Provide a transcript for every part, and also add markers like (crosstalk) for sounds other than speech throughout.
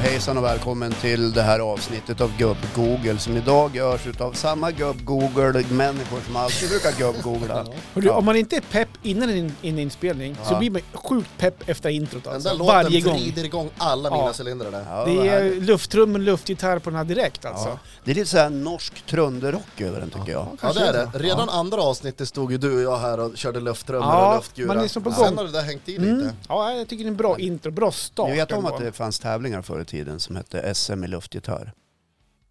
hejsan och välkommen till det här avsnittet av Gubb-Google som idag görs utav samma Gubb-Google-människor som alltid brukar Gubb-Googla. Hörru, Om man inte är pepp innan en, en inspelning Ja. så blir man sjukt pepp efter introt Den alltså. där Varje låten gång. vrider igång alla mina Ja. cylindrar där. Ja, vad Det är härligt. lufttrummen, luftgitarr på den här direkt alltså. ja. Det är lite såhär norsk trunderock över den tycker jag. Ja kanske det är det. det. Redan andra avsnittet stod ju du och jag här och körde luftrummor Ja, och luftgura. man är som på gång. Sen har det där hängt i lite. Mm. Ja, jag tycker det är en bra intro, bra start. Ni vet om att ändå. det fanns tävlingar förr i tiden som hette SM i luftgitarr?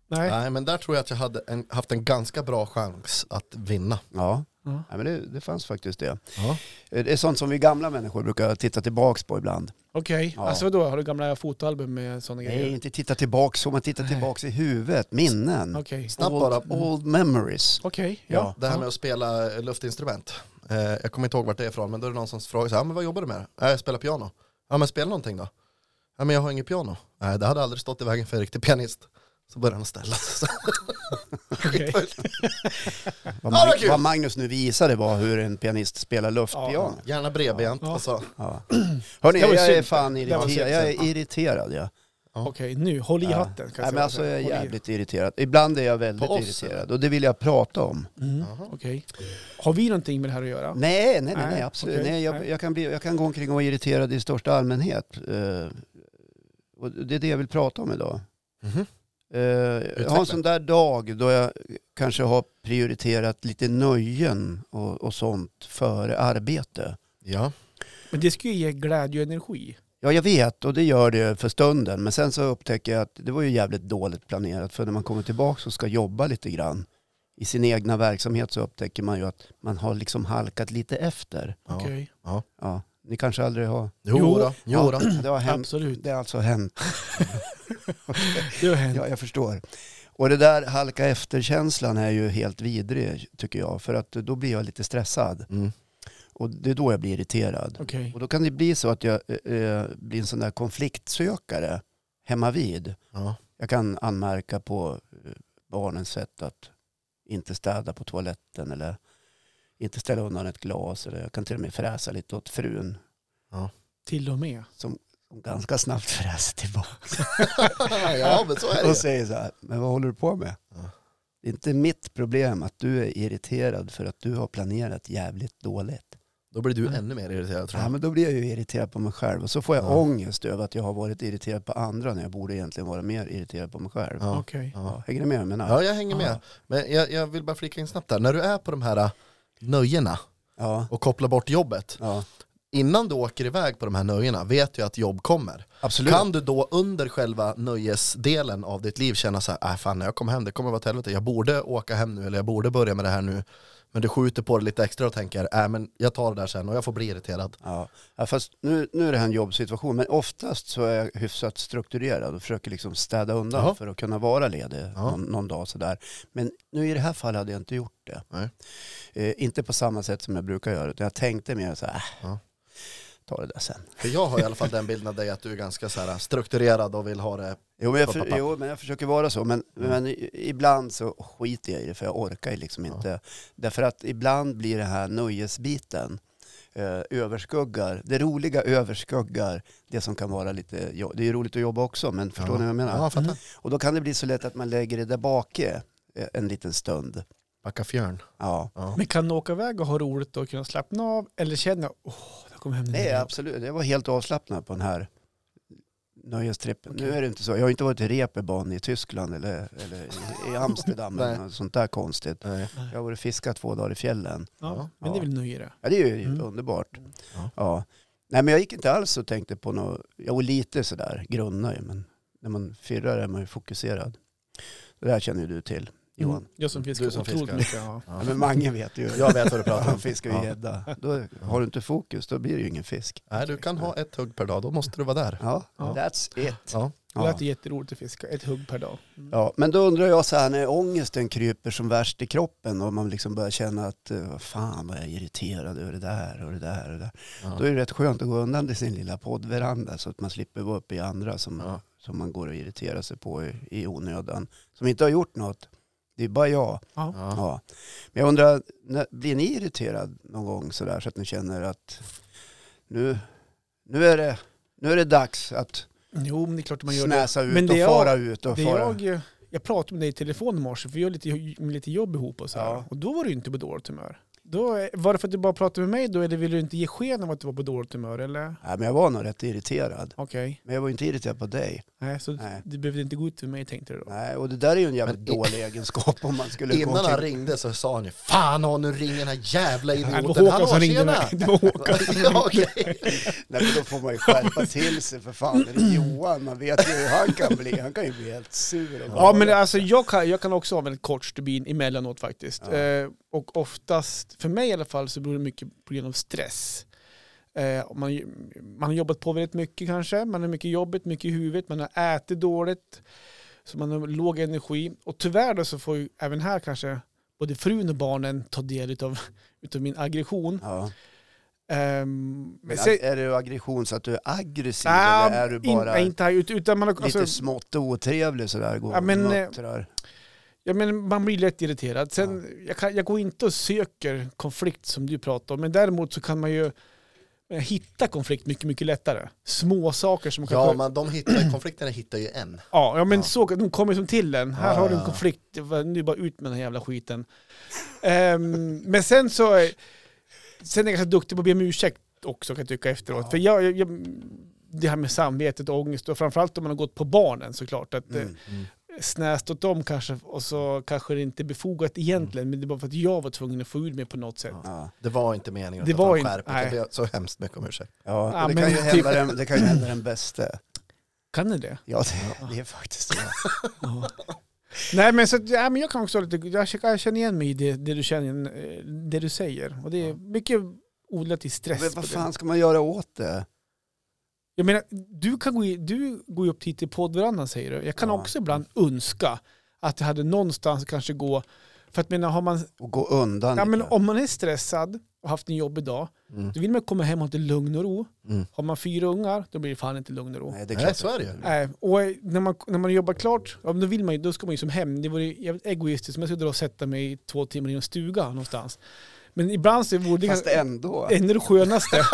Nej. Nej men där tror jag att jag hade en, haft en ganska bra chans att vinna. Ja, Ja. ja men det, det fanns faktiskt det. Eh, Ja. Det är sånt som vi gamla människor brukar titta tillbaks på ibland. Okej, Ja. alltså vadå? Har du gamla fotoalbum med sådana Nej, grejer? inte titta tillbaks så, man tittar tillbaks i huvudet, minnen. Okej. Snabbt old, bara. Old memories. Okej, Ja. ja. Det här med att spela eh, luftinstrument. Eh, jag kommer inte ihåg vart det är ifrån men då är det någon som frågar så här, "Ah, men vad jobbar du med? "Ah, jag spelar piano. Ja men spela någonting då? Ja men jag har inget piano. Nej det hade aldrig stått i vägen för en riktig pianist. Så började han ställa sig. (laughs) Okej. Vad, Ja, vad Mag- kul! vad Magnus nu visade var hur en pianist spelar luftpiano. Ja. Gärna bredbent Ja. Mm. och så. Hörni, Det jag var är synd. fan Det var irriterad. synd. Jag är irriterad ja. Okej, nu. Håll i hatten. Nej, men säga. alltså jag är Håll i. jävligt irriterad. Ibland är jag väldigt På oss, irriterad och det vill jag prata om. Mm. Jaha. Okej. Har vi någonting med det här att göra? Nej, nej, nej, nej Nej, absolut. okej, nej, jag, nej. jag, kan bli, jag kan gå omkring och vara irriterad i största allmänhet. Eh, och det är det jag vill prata om idag. Mhm. Eh, jag har en Utveckla. sån där dag då jag kanske har prioriterat lite nöjen och, och sånt före arbete. Ja. Men det ska ju ge glädje och energi. Ja, jag vet och det gör det för stunden. Men sen så upptäcker jag att det var ju jävligt dåligt planerat. För när man kommer tillbaka och ska jobba lite grann i sin egna verksamhet så upptäcker man ju att man har liksom halkat lite efter. Ja. Okej. Ja, ni kanske aldrig har... Jo, Jo. Då. Jo, då. Ja, (clears throat) det har hänt. Absolut. Det har alltså hänt. Det har (clears throat) hänt. Ja, jag förstår. Och det där halka efter-känslan är ju helt vidrig tycker jag. För att då blir jag lite stressad. Mm. Och det är då jag blir irriterad. Okej. Och då kan det bli så att jag eh, eh, blir en sån där konfliktsökare hemma vid. Ja. Jag kan anmärka på eh, barnens sätt att inte städa på toaletten eller inte ställa undan ett glas. Eller jag kan till och med fräsa lite åt frun Till och med. som ganska snabbt (laughs) fräser tillbaka (laughs) ja, men så är det ju. och säger så här, men vad håller du på med? Ja. Det är inte mitt problem att du är irriterad för att du har planerat jävligt dåligt. Då blir du ännu mer irriterad tror Ja, jag. men då blir jag ju irriterad på mig själv och så får jag Ja. ångest över att jag har varit irriterad på andra när jag borde egentligen vara mer irriterad på mig själv. Ja. Okej. Ja, Ja. hänger ni med vad jag menar? ja, jag hänger med. Ja. Men jag, jag vill bara flika in snabbt där. När du är på de här äh, nöjena Ja. och kopplar bort jobbet, Ja. innan du åker iväg på de här nöjena vet du att jobb kommer. Absolut. Kan du då under själva nöjesdelen av ditt liv känna så här, äh, fan när jag kommer hem, det kommer vara ett helvete, jag borde åka hem nu eller jag borde börja med det här nu. Men du skjuter på det lite extra och tänker, äh, men jag tar det där sen och jag får bli irriterad. Ja, ja fast nu, nu är det här en jobbsituation, men oftast så är jag hyfsat strukturerad och försöker liksom städa undan Jaha. för att kunna vara ledig Ja. någon, någon dag sådär. Men nu i det här fallet hade jag inte gjort det. Nej. Eh, inte på samma sätt som jag brukar göra, utan jag tänkte mer så här, äh, Ja. ta det där sen. För jag har i alla fall den bilden av dig att du är ganska så här, äh, strukturerad och vill ha det Jo men, jag Papp, för, papp, papp. jo, men jag försöker vara så. Men, Mm. men i- ibland så skiter jag i det för jag orkar ju liksom Ja. inte. Därför att ibland blir det här nöjesbiten eh, överskuggar, det roliga överskuggar det som kan vara lite, jo- det är ju roligt att jobba också men förstår Ja. ni vad jag menar? Ja, jag fattar. Mm. Och då kan det bli så lätt att man lägger det där bake eh, en liten stund. Backa fjärn. Ja. Ja. Men kan du åka iväg och ha roligt och kunna slappna av eller känna åh, jag kommer hem nu. Mm. Nej absolut, jag var helt avslappnad på den här nöjestrippen. Nu Okej. är det inte så, jag har inte varit i Reeperbahn i Tyskland eller, eller i- i (laughs) Amsterdam eller Nej. något sånt där konstigt. Nej. Jag har varit och fiskat två dagar i fjällen. Ja, Ja. men det är väl nöje det. Ja, det är ju Mm. underbart. Ja. Ja. Nej, men jag gick inte alls och tänkte på något. Jo, lite sådär grundnöje, men när man firrar är man ju fokuserad. Det där känner ju du till, Johan. Mm. Jag som fiskar Du som otroligt fiskar. mycket. Ja. Ja, men Mange vet ju. Jag vet vad du pratar Han om. fiskar ju gädda. Då har du inte fokus, då blir det ju ingen fisk. Nej, du kan ha ett hugg per dag, då måste du vara där. Ja, Ja. that's it. Ja. Det Ja. lät ju jätteroligt att fiska, ett hugg per dag. Mm. Ja, men då undrar jag så här när ångesten kryper som värst i kroppen och man liksom börjar känna att eh, vad fan vad jag är irriterad över det där och det där och det där. Då är det rätt skönt att gå undan till sin lilla poddveranda så att man slipper vara uppe i andra som, Ja. som man går och irriterar sig på i, i onödan. Som inte har gjort något. Det är bara jag. Ja. Ja. Ja. Men jag undrar, när, blir ni irriterad någon gång sådär så att ni känner att nu, nu, är, det, nu är det dags att Jo, men det är klart att man gör Snäsa ut Men och det jag- fara ut och det. fara. Jag, jag pratade med dig i telefon i morse, för vi gör lite, lite jobb ihop och så här. Ja. Och då var du inte på dåligt humör. Då, var det för att du bara pratade med mig då, eller ville du inte ge sken av att du var på dåligt humör, eller? Nej, men jag var nog rätt irriterad. Okej. Men jag var ju inte irriterad på dig. Nej, så Nej. du behövde inte gå ut med mig tänkte du då? Nej, och det där är ju en jävligt Men i- dålig egenskap om man skulle gå Innan han omkring. ringde så sa han ju Fan har nu ringer den här jävla Nej, det var idioten. Håkan som Hallå ringde tjena! mig. (laughs) Det var Håkan. ja, okej. Nej, men då får man ju skärpa till sig för fan. Är det Johan, man vet ju hur han kan bli. Han kan ju bli helt sur. och Ja, galen. men alltså, jag, kan, jag kan också ha väldigt kort stubin emellanåt faktiskt. Eh, och oftast, för mig i alla fall, så beror det mycket på grund av stress. Eh, och man, man har jobbat på väldigt mycket kanske, man har mycket jobbet, mycket i huvudet, man har ätit dåligt, så man har låg energi. Och tyvärr då så får ju även här kanske både frun och barnen ta del utav, (laughs) utav min aggression. Ja. Ehm, Men men se- är du aggression så att du är aggressiv Nej, eller är du in- bara nej, inte, ut- utan man har, lite alltså, smått otrevlig sådär? Går Ja, men, och eh, muttrar? Ja, men man blir lätt irriterad. Sen, jag, kan, jag går inte och söker konflikt som du pratar om, men däremot så kan man ju eh, hitta konflikt mycket, mycket lättare. Små saker som man kan... ja men de hittar, konflikterna hittar ju en. ja, ja, men Ja. Så, de kommer som till en. Här Ja, har du ja, en ja. konflikt, Det var- nu bara ut med den här jävla skiten. Ehm, men sen så... är- Sen är jag ganska duktig på att be om ursäkt också kan jag tycka efteråt. För jag, jag, jag, det här med samvetet och ångest, och framförallt om man har gått på barnen såklart. Att, eh, Mm. snäst åt dem kanske och så kanske det inte är befogat egentligen men det var för att jag var tvungen att få ur mig på något sätt. Mm. Ja. Det var inte meningen Det att var han inte- skärper sig. nej. Jag ber så hemskt mycket om ursäkt. Ja, Ja, det, men kan ju typ- hända den, det kan ju hända den bästa. Kan ni det? Ja, det, det är faktiskt det. Nej men, så, att- ja, men jag kan också ha lite, jag känner- jag känner igen mig i det, det, du, känner, eh, det du säger. Och det är Ja. mycket odlat i (laughs) stress. Men på vad det. fan ska man göra åt det? Jag menar, du, kan gå i, du går ju upp hit till poddverandan säger du. Jag kan Ja. också ibland önska att jag hade någonstans kanske gå, för att menar, har man, Och gå undan ja, men lite. om man är stressad och haft en jobbig dag, Mm. då vill man komma hem och ha lite lugn och ro. Mm. Har man fyra ungar, då blir det fan inte lugn och ro. Nej, det är Nej, klart. så är det ju. Nej, och eh, när man, när man jobbar klart, ja, men då, vill man ju, då ska man ju som hem. Det vore ju jävligt egoistiskt om jag skulle dra och sätta mig i två timmar i en stuga någonstans. Men ibland så vore det Fast kanske (laughs) ändå. ännu det skönaste.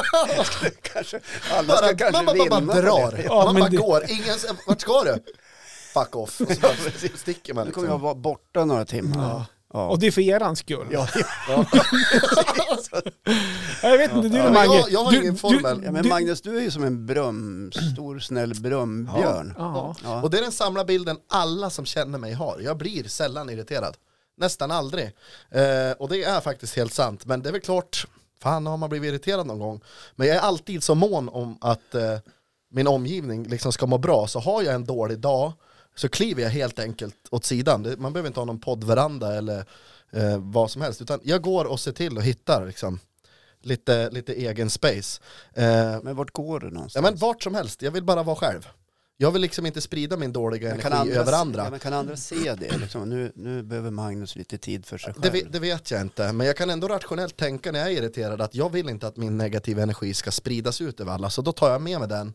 kanske, alla Bara, ska kanske man bara, vinna. bara drar. det. Ja, man men bara det- går. Ingen, säger, vart ska (laughs) du? Fuck off. Och så bara sticker man. Nu Liksom. kommer jag vara borta några timmar. Ja. (laughs) Ja. Och det är för eran skull. Ja, ja. Jag vet inte, du Ja, då men Mange. jag- jag har du, ingen formel. ja, men du- Magnus, du är ju som en brum, stor snäll brumbjörn. Ja. Ja. Och det är den samlade bilden alla som känner mig har. Jag blir sällan irriterad. Nästan aldrig. Eh, och det är faktiskt helt sant. Men det är väl klart, fan har man blivit irriterad någon gång. Men jag är alltid så mån om att eh, min omgivning liksom ska må bra. Så har jag en dålig dag så kliver jag helt enkelt åt sidan. Det- Man behöver inte ha någon poddveranda eller eh, vad som helst. Utan jag går och ser till och hittar liksom, lite, lite egen space. Eh, Men vart går du Ja, någonstans? men vart som helst, jag vill bara vara själv. Jag vill liksom inte sprida min dåliga Men energi över andra. Ja, men kan andra se det? Liksom? Nu, nu behöver Magnus lite tid för sig det, själv. ve- det vet jag inte, men jag kan ändå rationellt tänka när jag är irriterad att jag vill inte att min negativa energi ska spridas ut över alla, så då tar jag med mig den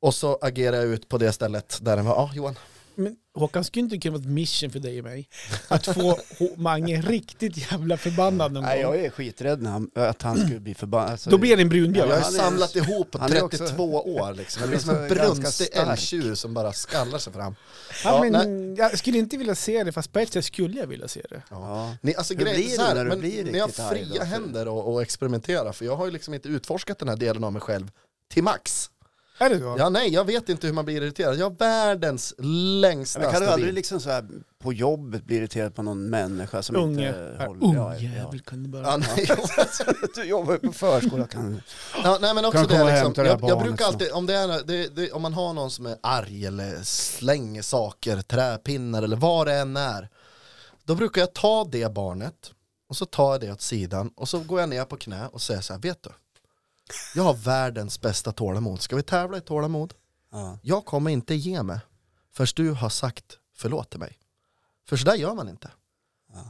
och så agerar jag ut på det stället där den var. Ja, Johan. Men Håkan, skulle inte det kunna vara ett mission för dig och mig? Att få H- Mange riktigt jävla förbannad någon Nej, gång. jag är skiträdd när han, att han skulle bli förbannad. Alltså, Då blir det en brunbjörn. Ja, Jag har han är- samlat ihop på han är 32 också- år liksom. Jag blir som Han är en också ganska brunstig stark. älgtjur som bara skallar sig fram. Ja, Ja, men, jag skulle inte vilja se det, fast på ett sätt skulle jag vilja se det. Ja. Ni, alltså, Hur grejen blir är så du här, när du men blir när jag riktigt arg då? fria händer och, och experimenterar, för jag har ju liksom inte utforskat den här delen av mig själv till max. Är det så? Ja, nej, jag vet inte hur man blir irriterad. Jag har världens längsta Men kan du stabil- aldrig liksom så här på jobbet bli irriterad på någon människa som Unge. inte Ja, håller... ja, ja. Ungjävel kan du bara... Ja, nej, Du jobbar ju på förskola. Kan... ja, nej, men också Kan du det, komma och liksom, hämta det här jag, jag barnet brukar alltid, om, det är, det, det, om man har någon som är arg eller slänger saker, träpinnar eller vad det än är, då brukar jag ta det barnet och så tar jag det åt sidan och så går jag ner på knä och säger så här, vet du, jag har världens bästa tålamod, ska vi tävla i tålamod? Ja. jag kommer inte ge mig förrän du har sagt förlåt till mig. För så där gör man inte.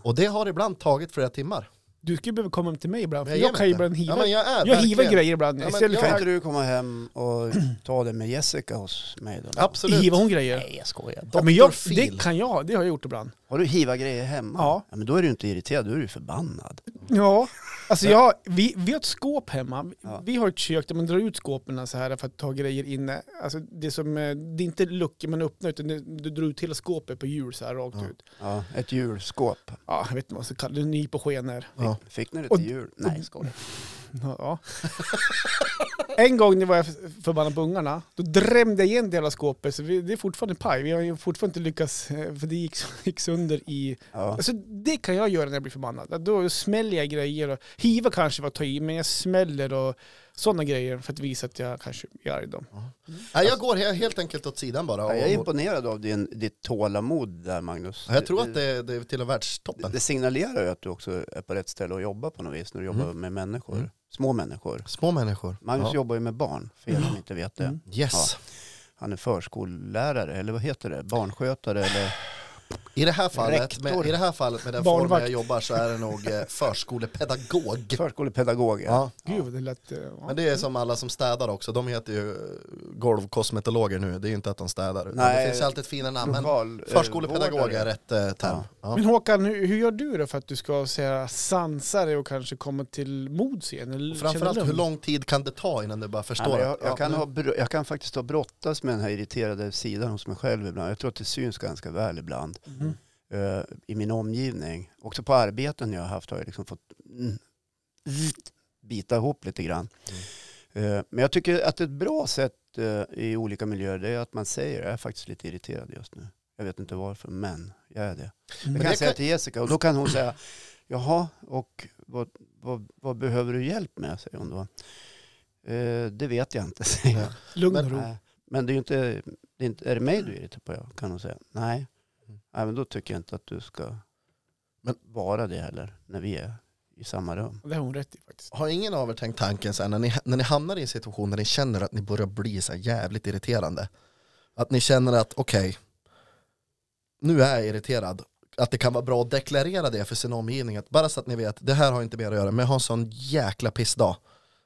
Och det har ibland tagit flera timmar. Du skulle behöva komma hem till mig ibland, för Men jag, vet kan ju inte. ibland hiva. Ja, men jag är jag hivar verkligen- grejer ibland. men istället Kan för jag- inte du komma hem och ta det med Jessica hos mig då? Absolut. hivar hon grejer. Nej, jag skojar. Ja, men jag, Dr. Phil. det kan jag, det har jag gjort ibland. Har du hivat grejer hemma? Ja. Mm. men då är du inte irriterad, då är du förbannad. Ja, Alltså jag, vi, vi har ett skåp hemma. Ja. Vi har ett kök där man drar ut skåpen så här för att ta grejer inne. Alltså det, är som, eh, det är inte luckor man öppnar utan det, du drar ut hela skåpet på hjul så här rakt Ja. ut. Ja, ett julskåp. Ja, jag vet inte vad man ska kalla det. Nyp och skenor. Ja. Fick ni det Och- till jul? Nej, skål. Ja. (laughs) en gång när jag var förbannad på ungarna, då drämde jag igen det hela skåpet. Så vi, det är fortfarande paj. Vi har ju fortfarande inte lyckats, eh, för det gick, (laughs) gick sönder i... Ja. Alltså det kan jag göra när jag blir förbannad. Då smäller jag grejer och hiva kanske var att ta i, men jag smäller och sådana grejer för att visa att jag kanske är arg då. Nej, jag går he- helt enkelt åt sidan bara. Ja, Och, jag är imponerad av din, ditt tålamod där Magnus. Ja, jag tror att det, det är till och med världstoppen. det signalerar ju att du också är på rätt ställe att jobba på något vis när du jobbar med människor. Mm. Små människor. Små människor. Magnus ja. jobbar ju med barn, för er som inte vet det. Mm. Yes. Han är förskollärare, eller vad heter det? Barnskötare eller... I, det här fallet, Rektor. med, I det här fallet med den Barnvakt. formen jag jobbar så är det nog eh, förskolepedagog. Förskolepedagog. (laughs) Ja. Ja. Gud, det lät... eh, Ja. Men det är som alla som städar också, de heter ju eh, golvkosmetologer nu, det är ju inte att de städar. utan Nej. Det finns ju alltid ett fina namn, men Lokal, eh, förskolepedagog är vårdare. rätt eh, term. Ja. Men Håkan, hur, hur gör du då för att du ska säga, sansa dig och kanske komma till mods igen? Eller känna Framförallt lugn? hur lång tid kan det ta innan du bara förstår? Nej, men Alltså, jag, att, ja, jag, kan nu- ha, br- jag kan faktiskt ha brottats med den här irriterade sidan hos mig själv ibland. Jag tror att det syns ganska väl ibland Mhm. eh, i min omgivning. Också på arbeten jag har haft har jag liksom fått mm, zzzt, bita ihop lite grann. Mm. Eh, men jag tycker att ett bra sätt eh, i olika miljöer det är att man säger jag är faktiskt lite irriterad just nu. Jag vet inte varför, men jag är det. Men Jag kan Mm. det säga kan- till Jessica och då kan hon säga jaha, och vad, vad, vad behöver du hjälp med? säger hon då. Eh, det vet jag inte, (laughs) säger jag. Lugn och Men, ro. eh, nej, men det är ju inte, det är inte, är det mig du är irriterad på? Kan hon säga. Nej. Mm. nej, men då tycker jag inte att du ska Men- vara det heller när vi är i samma rum. Det har hon rätt i faktiskt. Har ingen av er tänkt tanken så här, när ni, när ni hamnar i en situation där ni känner att ni börjar bli så här jävligt irriterande? Att ni känner att okej, nu är jag irriterad. Att det kan vara bra att deklarera det för sin omgivning. Att bara så att ni vet, det här har inte mer att göra, men jag har en sån jäkla pissdag.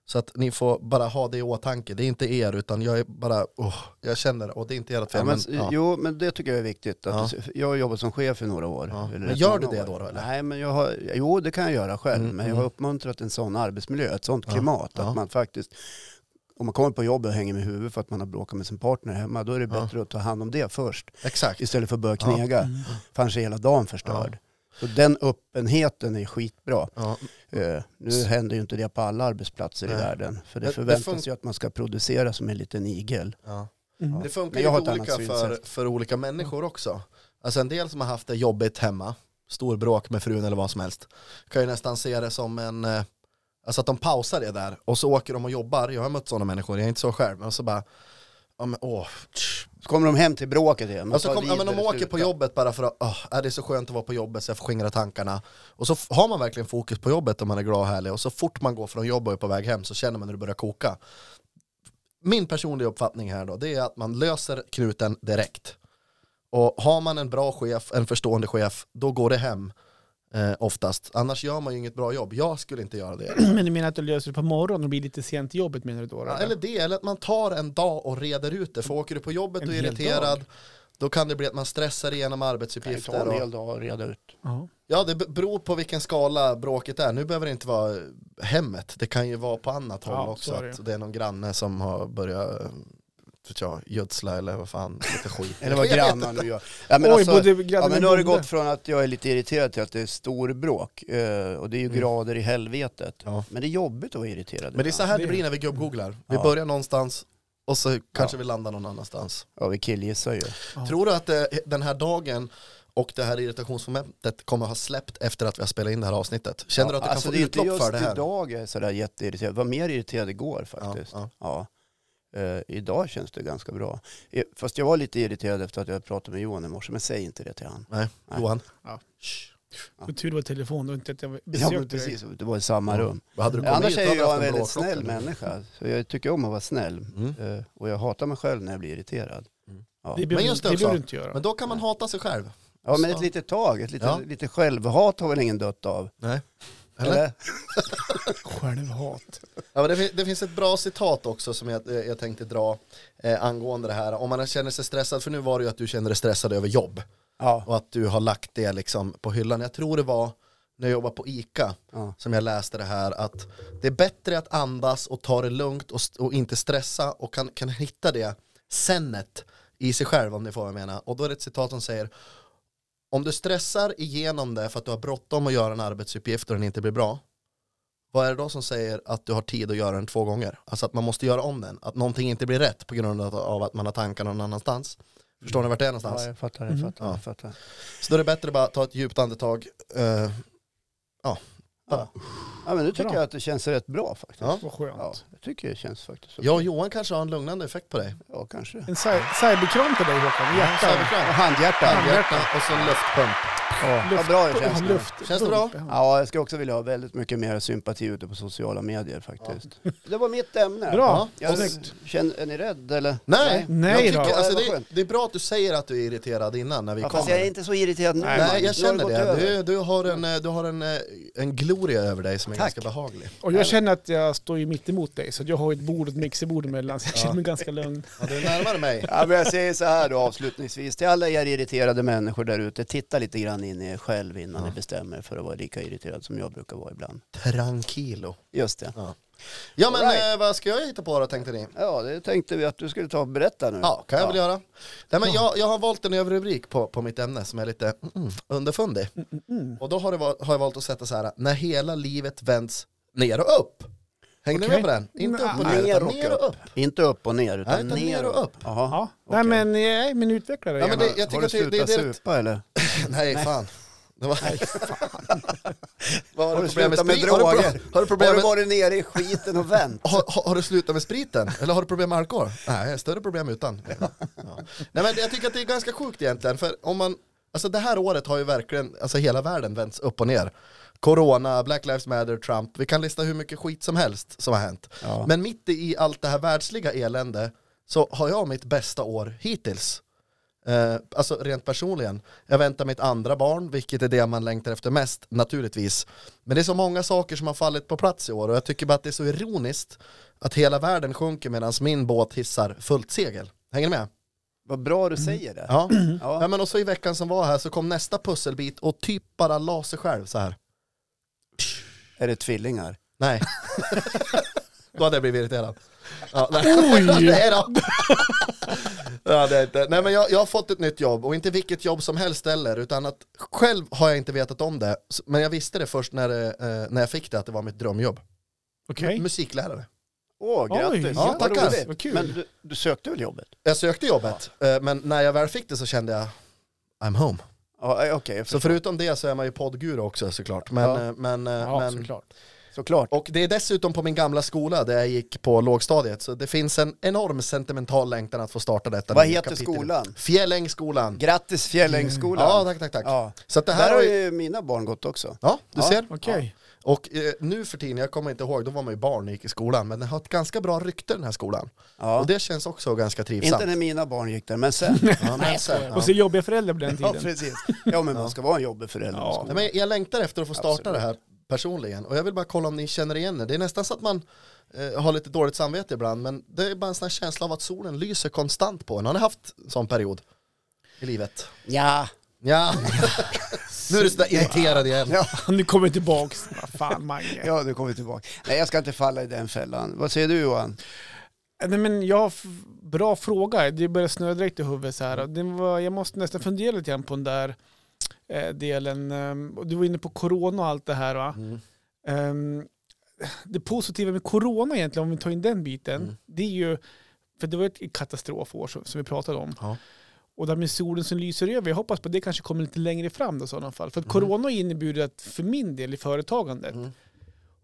Så att ni får bara ha det i åtanke. Det är inte er, utan jag är bara, åh, jag känner, och det är inte ert fel. Ja, men, men, ja. Jo, men det tycker jag är viktigt. Att du- Jag har jobbat som chef i några år. Ja. eller Men rätt gör du många det år. då då, eller? Nej, men jag har, jo det kan jag göra själv. Mm, men jag mm. har uppmuntrat en sån arbetsmiljö, ett sånt Ja, klimat. ja. Att man faktiskt, om man kommer på jobbet och hänger med huvudet för att man har bråkat med sin partner hemma, då är det Ja. bättre att ta hand om det först. Exakt. Istället för att börja Ja. knega. Mm. fanns hela dagen förstörd. Så den öppenheten är skitbra. Ja. Eh, nu händer ju inte det på alla arbetsplatser Nej. i världen. För det, Det- det förväntas fun- ju att man ska producera som en liten igel. Ja. Mm. Det funkar Men ju jag har lite ett annat olika för, synsätt. för olika människor också. Alltså en del som har haft det jobbigt hemma, stor bråk med frun eller vad som helst, kan ju nästan se det som en, eh, alltså att de pausar det där och så åker de och jobbar. Jag har mött sådana människor, jag är inte så själv, men så bara, ja men åh, tsch. Så kommer de hem till bråket igen. Man Och så tar Alltså, kom, ja, men de vidare, åker på slutar. jobbet bara för att åh, är det är så skönt att vara på jobbet så jag får skingra tankarna. Och så f- har man verkligen fokus på jobbet om man är glad och härlig och så fort man går från jobbet och är på väg hem så känner man hur det börjar koka. Min personliga uppfattning här då, det är att man löser knuten direkt. Och har man en bra chef, en förstående chef, då går det hem eh, oftast. Annars gör man ju inget bra jobb. Jag skulle inte göra det. (clears throat) Men du menar att du löser det på morgonen och blir lite sent i jobbet menar du då? Ja, eller det, eller att man tar en dag och reder ut det. För åker du på jobbet En och är hel irriterad, dag. då kan det bli att man stressar igenom Det kan ju ta arbetsuppgifter. en Och, hel dag att reda (laughs) ut. Ja. ja, det b- beror på vilken skala bråket är. Nu behöver det inte vara hemmet, det kan ju vara på annat Ja, håll så också. är det ju. Att det är någon granne som har börjat eh, vet jag, gödsla eller vad fan, lite skit. (laughs) Eller vad Jag vet grannar nu gör. Ja, men Oj, alltså, både grannen ja, och men nu har det bonde. gått från att jag är lite irriterad till att det är storbråk. Eh, och det är ju grader i helvetet. Mm. Ja. Men det är jobbigt att vara irriterad. Men det är så ibland. här Det- det blir när vi gubbgooglar. Vi Ja. börjar någonstans och så kanske vi landar någon annanstans. Ja, vi killgissar ju. Ja. Tror du att eh, den här dagen och det här irritationsmomentet kommer ha släppt efter att vi har spelat in det här avsnittet? Känner du att du kan alltså få det är inte utlopp just för det här? idag jag är sådär jätteirriterad. Jag var mer irriterad igår faktiskt. Ja, Ja, Eh, idag känns det ganska bra. Eh, Fast jag var lite irriterad efter att jag pratade med Johan i morse, men säg inte det till han. Nej, Nej. Johan, Det var tur det var telefon och inte att jag Ja, besökte men precis. Det var i samma rum. Eh, vad hade du kommit Annars hit, är då ju hade jag haft Mm. en bra väldigt snäll chock, eller? människa, så jag tycker om att vara snäll. Mm. Eh, Och jag hatar mig själv när jag blir irriterad. Mm. Ja. dig. Det behöver, Men men just det det också. behöver du inte göra. Men då kan man hata sig själv. ja, men ett så. litet tag, ett litet, Ja. lite självhat har väl ingen dött av? Nej. Eller? Eller? Självhat. Ja, men det, fin- det finns ett bra citat också som jag, eh, jag tänkte dra eh, angående det här. Om man känner sig stressad, för nu var det ju att du kände dig stressad över jobb Ja. och att du har lagt det liksom på hyllan. Jag tror det var när jag jobbade på ICA Ja. som jag läste det här att det är bättre att andas och ta det lugnt och, st- och inte stressa och kan, kan hitta det senet i sig själv om ni får vad jag menar. Och då är det ett citat som säger om du stressar igenom det för att du har bråttom att göra en arbetsuppgift och den inte blir bra vad är det då som säger att du har tid att göra den två gånger? Alltså att man måste göra om den, att någonting inte blir rätt på grund av- av att man har tankarna någon annanstans. Förstår ni vart det är någonstans? Ja, jag fattar, jag fattar, Mm. jag fattar. Så då är det bättre att bara ta ett djupt andetag. eh, Ja. ja, men nu tycker Bra. jag att det känns rätt bra faktiskt. ja. Vad Ja, skönt. jag tycker det känns faktiskt så. Jag och Johan kanske har en lugnande effekt på dig. Ja, kanske. En cy- cyberkram till dig Håkan, i Så är hjärtat. vi Och klara. handhjärta. Handhjärta och så en luftpump. Ja, vad bra det känns nu. Luft. Känns det bra? Ja, jag skulle också vilja ha väldigt mycket mer sympati ute på sociala medier faktiskt. Det var mitt ämne. Bra, Jag snyggt. känner, är ni rädd eller? Nej, Nej jag då. tycker, alltså, Ja, det var det, är- skönt. det är bra att du säger att du är irriterad innan när vi Ja, fast kommer. jag är inte så irriterad nu. Nej, Magnus. Nej, Nu har jag känner gått det. över. Du, du har, en, eh, du har en, eh, en gloria över dig som är Tack. ganska behaglig. Och jag känner att jag står ju mitt emot dig, så att jag har ett bord och ett mixerbord emellan, så jag känner mig ganska lugn. Ja, du är närmare mig. (laughs) Ja, men jag säger så här då avslutningsvis till alla er irriterade människor där ute. Titta lite grann in i er själv innan ni bestämmer er för att vara lika irriterad som jag brukar vara ibland. Tranquilo. Just det. Ja men All right. eh, vad ska jag hitta på då tänkte ni? Ja, det tänkte vi att du skulle ta och berätta nu. Ja, kan jag väl göra. Nej, men jag, jag har valt en överrubrik på, på mitt ämne som är lite mm, underfundig. mm, Och då har, det, va- har jag valt att sätta så här, när hela livet vänds ner och upp. Hänger ni Okej. med på den? Inte upp och ner, Ner utan och ner och upp. Inte upp och ner, utan, Nej, utan ner och upp. Jaha. Ja. okej. Nej men, eh, nej, men utveckla det Ja, men gärna. det, jag Har tycker du att det, slutat det, det är rätt. supa (laughs) eller? Nej, fan. Det var, Vad Har har du du problem med slutat med sprit? Har du pro- droger? Har du problem Har du med... varit nere i skiten och (laughs) vänt? Har, (laughs) har, har du slutat med spriten? Eller har du problem med alkohol? Nej, jag har större problem utan. (laughs) Ja. Nej, men jag tycker att det är ganska sjukt egentligen. För om man, alltså det här året har ju verkligen, alltså hela världen vänts upp och ner. Corona, Black Lives Matter, Trump. Vi kan lista hur mycket skit som helst som har hänt. Ja. Men mitt i allt det här världsliga elände så har jag mitt bästa år hittills. Eh, alltså rent personligen. Jag väntar mitt andra barn, vilket är det man längtar efter mest naturligtvis. Men det är så många saker som har fallit på plats i år och jag tycker bara att det är så ironiskt att hela världen sjunker medan min båt hissar fullt segel. Hänger ni med? Vad bra du säger det. Ja. Ja. ja men och så i veckan som var här så kom nästa pusselbit och typ bara la sig själv så här. Är det tvillingar? Nej. då hade jag blivit irriterad. Ja, nej. Oj! (laughs) nej då. ja, det är inte. Nej men jag, jag har fått ett nytt jobb och inte vilket jobb som helst heller utan att själv har jag inte vetat om det. S- Men jag visste det först när, det, eh, när jag fick det att det var mitt drömjobb. Okej. Musiklärare. Åh, grattis. Oj, Ja, Vad tackar. roligt. Vad kul. Men du, du sökte väl jobbet? Jag sökte jobbet eh, men när jag väl fick det så kände jag I'm home. Ja, eh, okej. jag Så förstår. förutom det så är man ju poddguru också såklart. Men, Ja. eh, men, eh, Ja, men, såklart. Såklart. Och det är dessutom på min gamla skola där jag gick på lågstadiet. Så det finns en enorm sentimental längtan att få starta detta. Vad nya heter skolan? Fjällängsskolan. Grattis Fjällängsskolan. Ja, tack, tack, tack. Ja. Så att det Där här har har ju... ju mina barn gått också. Ja, du Ja. ser. Okej. Och eh, nu för tiden, jag kommer inte ihåg, då var man ju barn och gick i skolan. Men den har ett ganska bra rykte den här skolan. Ja. Och det känns också ganska trivsamt. Inte när mina barn gick där, men sen. (laughs) Ja, men, sen, ja. Och så jobbiga föräldrar på den ja, tiden. precis. Ja, men man ska vara en jobbig förälder. Ja. Ja. Nej, men jag längtar efter att få starta Absolut. det här personligen och jag vill bara kolla om ni känner igen det. Det är nästan så att man eh, har lite dåligt samvete ibland men det är bara en sån här känsla av att solen lyser konstant på en. Har ni haft en sån period i livet? ja. (laughs) Ja. nu är du sådär irriterad igen. Nu kommer jag tillbaks. Vad fan Mange. Ja, nu kommer vi tillbaka. Nej, jag ska inte falla i den fällan. Vad säger du Johan? Nej, men jag har f- bra fråga. Det börjar snöa direkt i huvudet så här. Det var, jag måste nästan fundera lite grann på den där eh, delen. Ehm, och Du var inne på corona och allt det här va? Mm. Ehm, det positiva med corona egentligen, om vi tar in den biten, Mm. det är ju, för det var ett katastrofår som, som vi pratade om. Ja. Och där med solen som lyser över, jag hoppas på det kanske kommer lite längre fram då, i sådana fall. För att corona har inneburit att för min del i företagandet, Mm.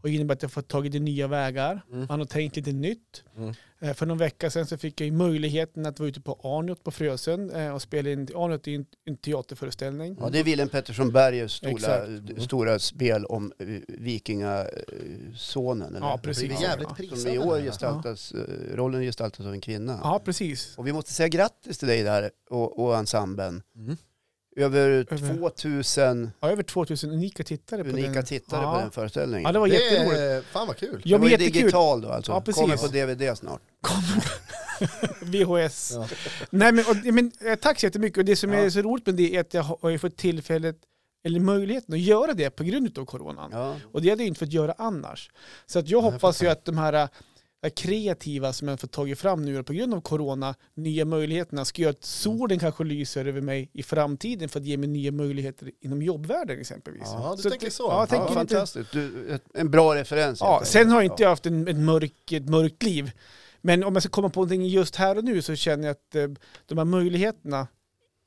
och innebär att jag fått tagit i nya vägar. Mm. Man har tänkt lite nytt. Mm. Eh, För någon vecka sedan så fick jag ju möjligheten att vara ute på Arnott på Frösön eh, och spela in, Arnott är en, en teaterföreställning. Ja, det är Willem Pettersson Bergers stora, Exakt. stora spel om eh, vikingasonen. eller? Ja, precis. Det är Ja. jävligt Som i prisande. år den här. gestaltas, eh, rollen gestaltas av en kvinna. Ja, precis. Och vi måste säga grattis till dig där och, och ensemblen. Mm. Över Över- 2000 Ja, över 2000 unika tittare på unika den. tittare ja. på den föreställningen. Ja, det var Det jätteroligt. är, fan vad kul. Ja, Den var men ju jättekul. digital då alltså. Ja, precis. Kommer på DVD snart. VHS. Ja. Nej, men, och, men, eh, tack så jättemycket. Och det som Ja. är så roligt med det är att jag har har ju fått tillfället eller möjligheten att göra det på grund av coronan. Ja. Och det hade jag inte fått göra annars. Så att jag Nej, hoppas ju fattar. att de här äh, kreativa som jag fått tagit fram nu på grund av corona, nya möjligheterna, ska göra att Mm. solen kanske lyser över mig i framtiden för att ge mig nya möjligheter inom jobbvärlden exempelvis. Ja, du Så att- tänker så. Ja, jag tänker ja, lite- fantastiskt. Du, ett, en bra referens. helt Ja, enkelt. sen har inte jag haft en, ett, mörk, ett mörkt liv. Men om jag ska komma på någonting just här och nu så känner jag att eh, de här möjligheterna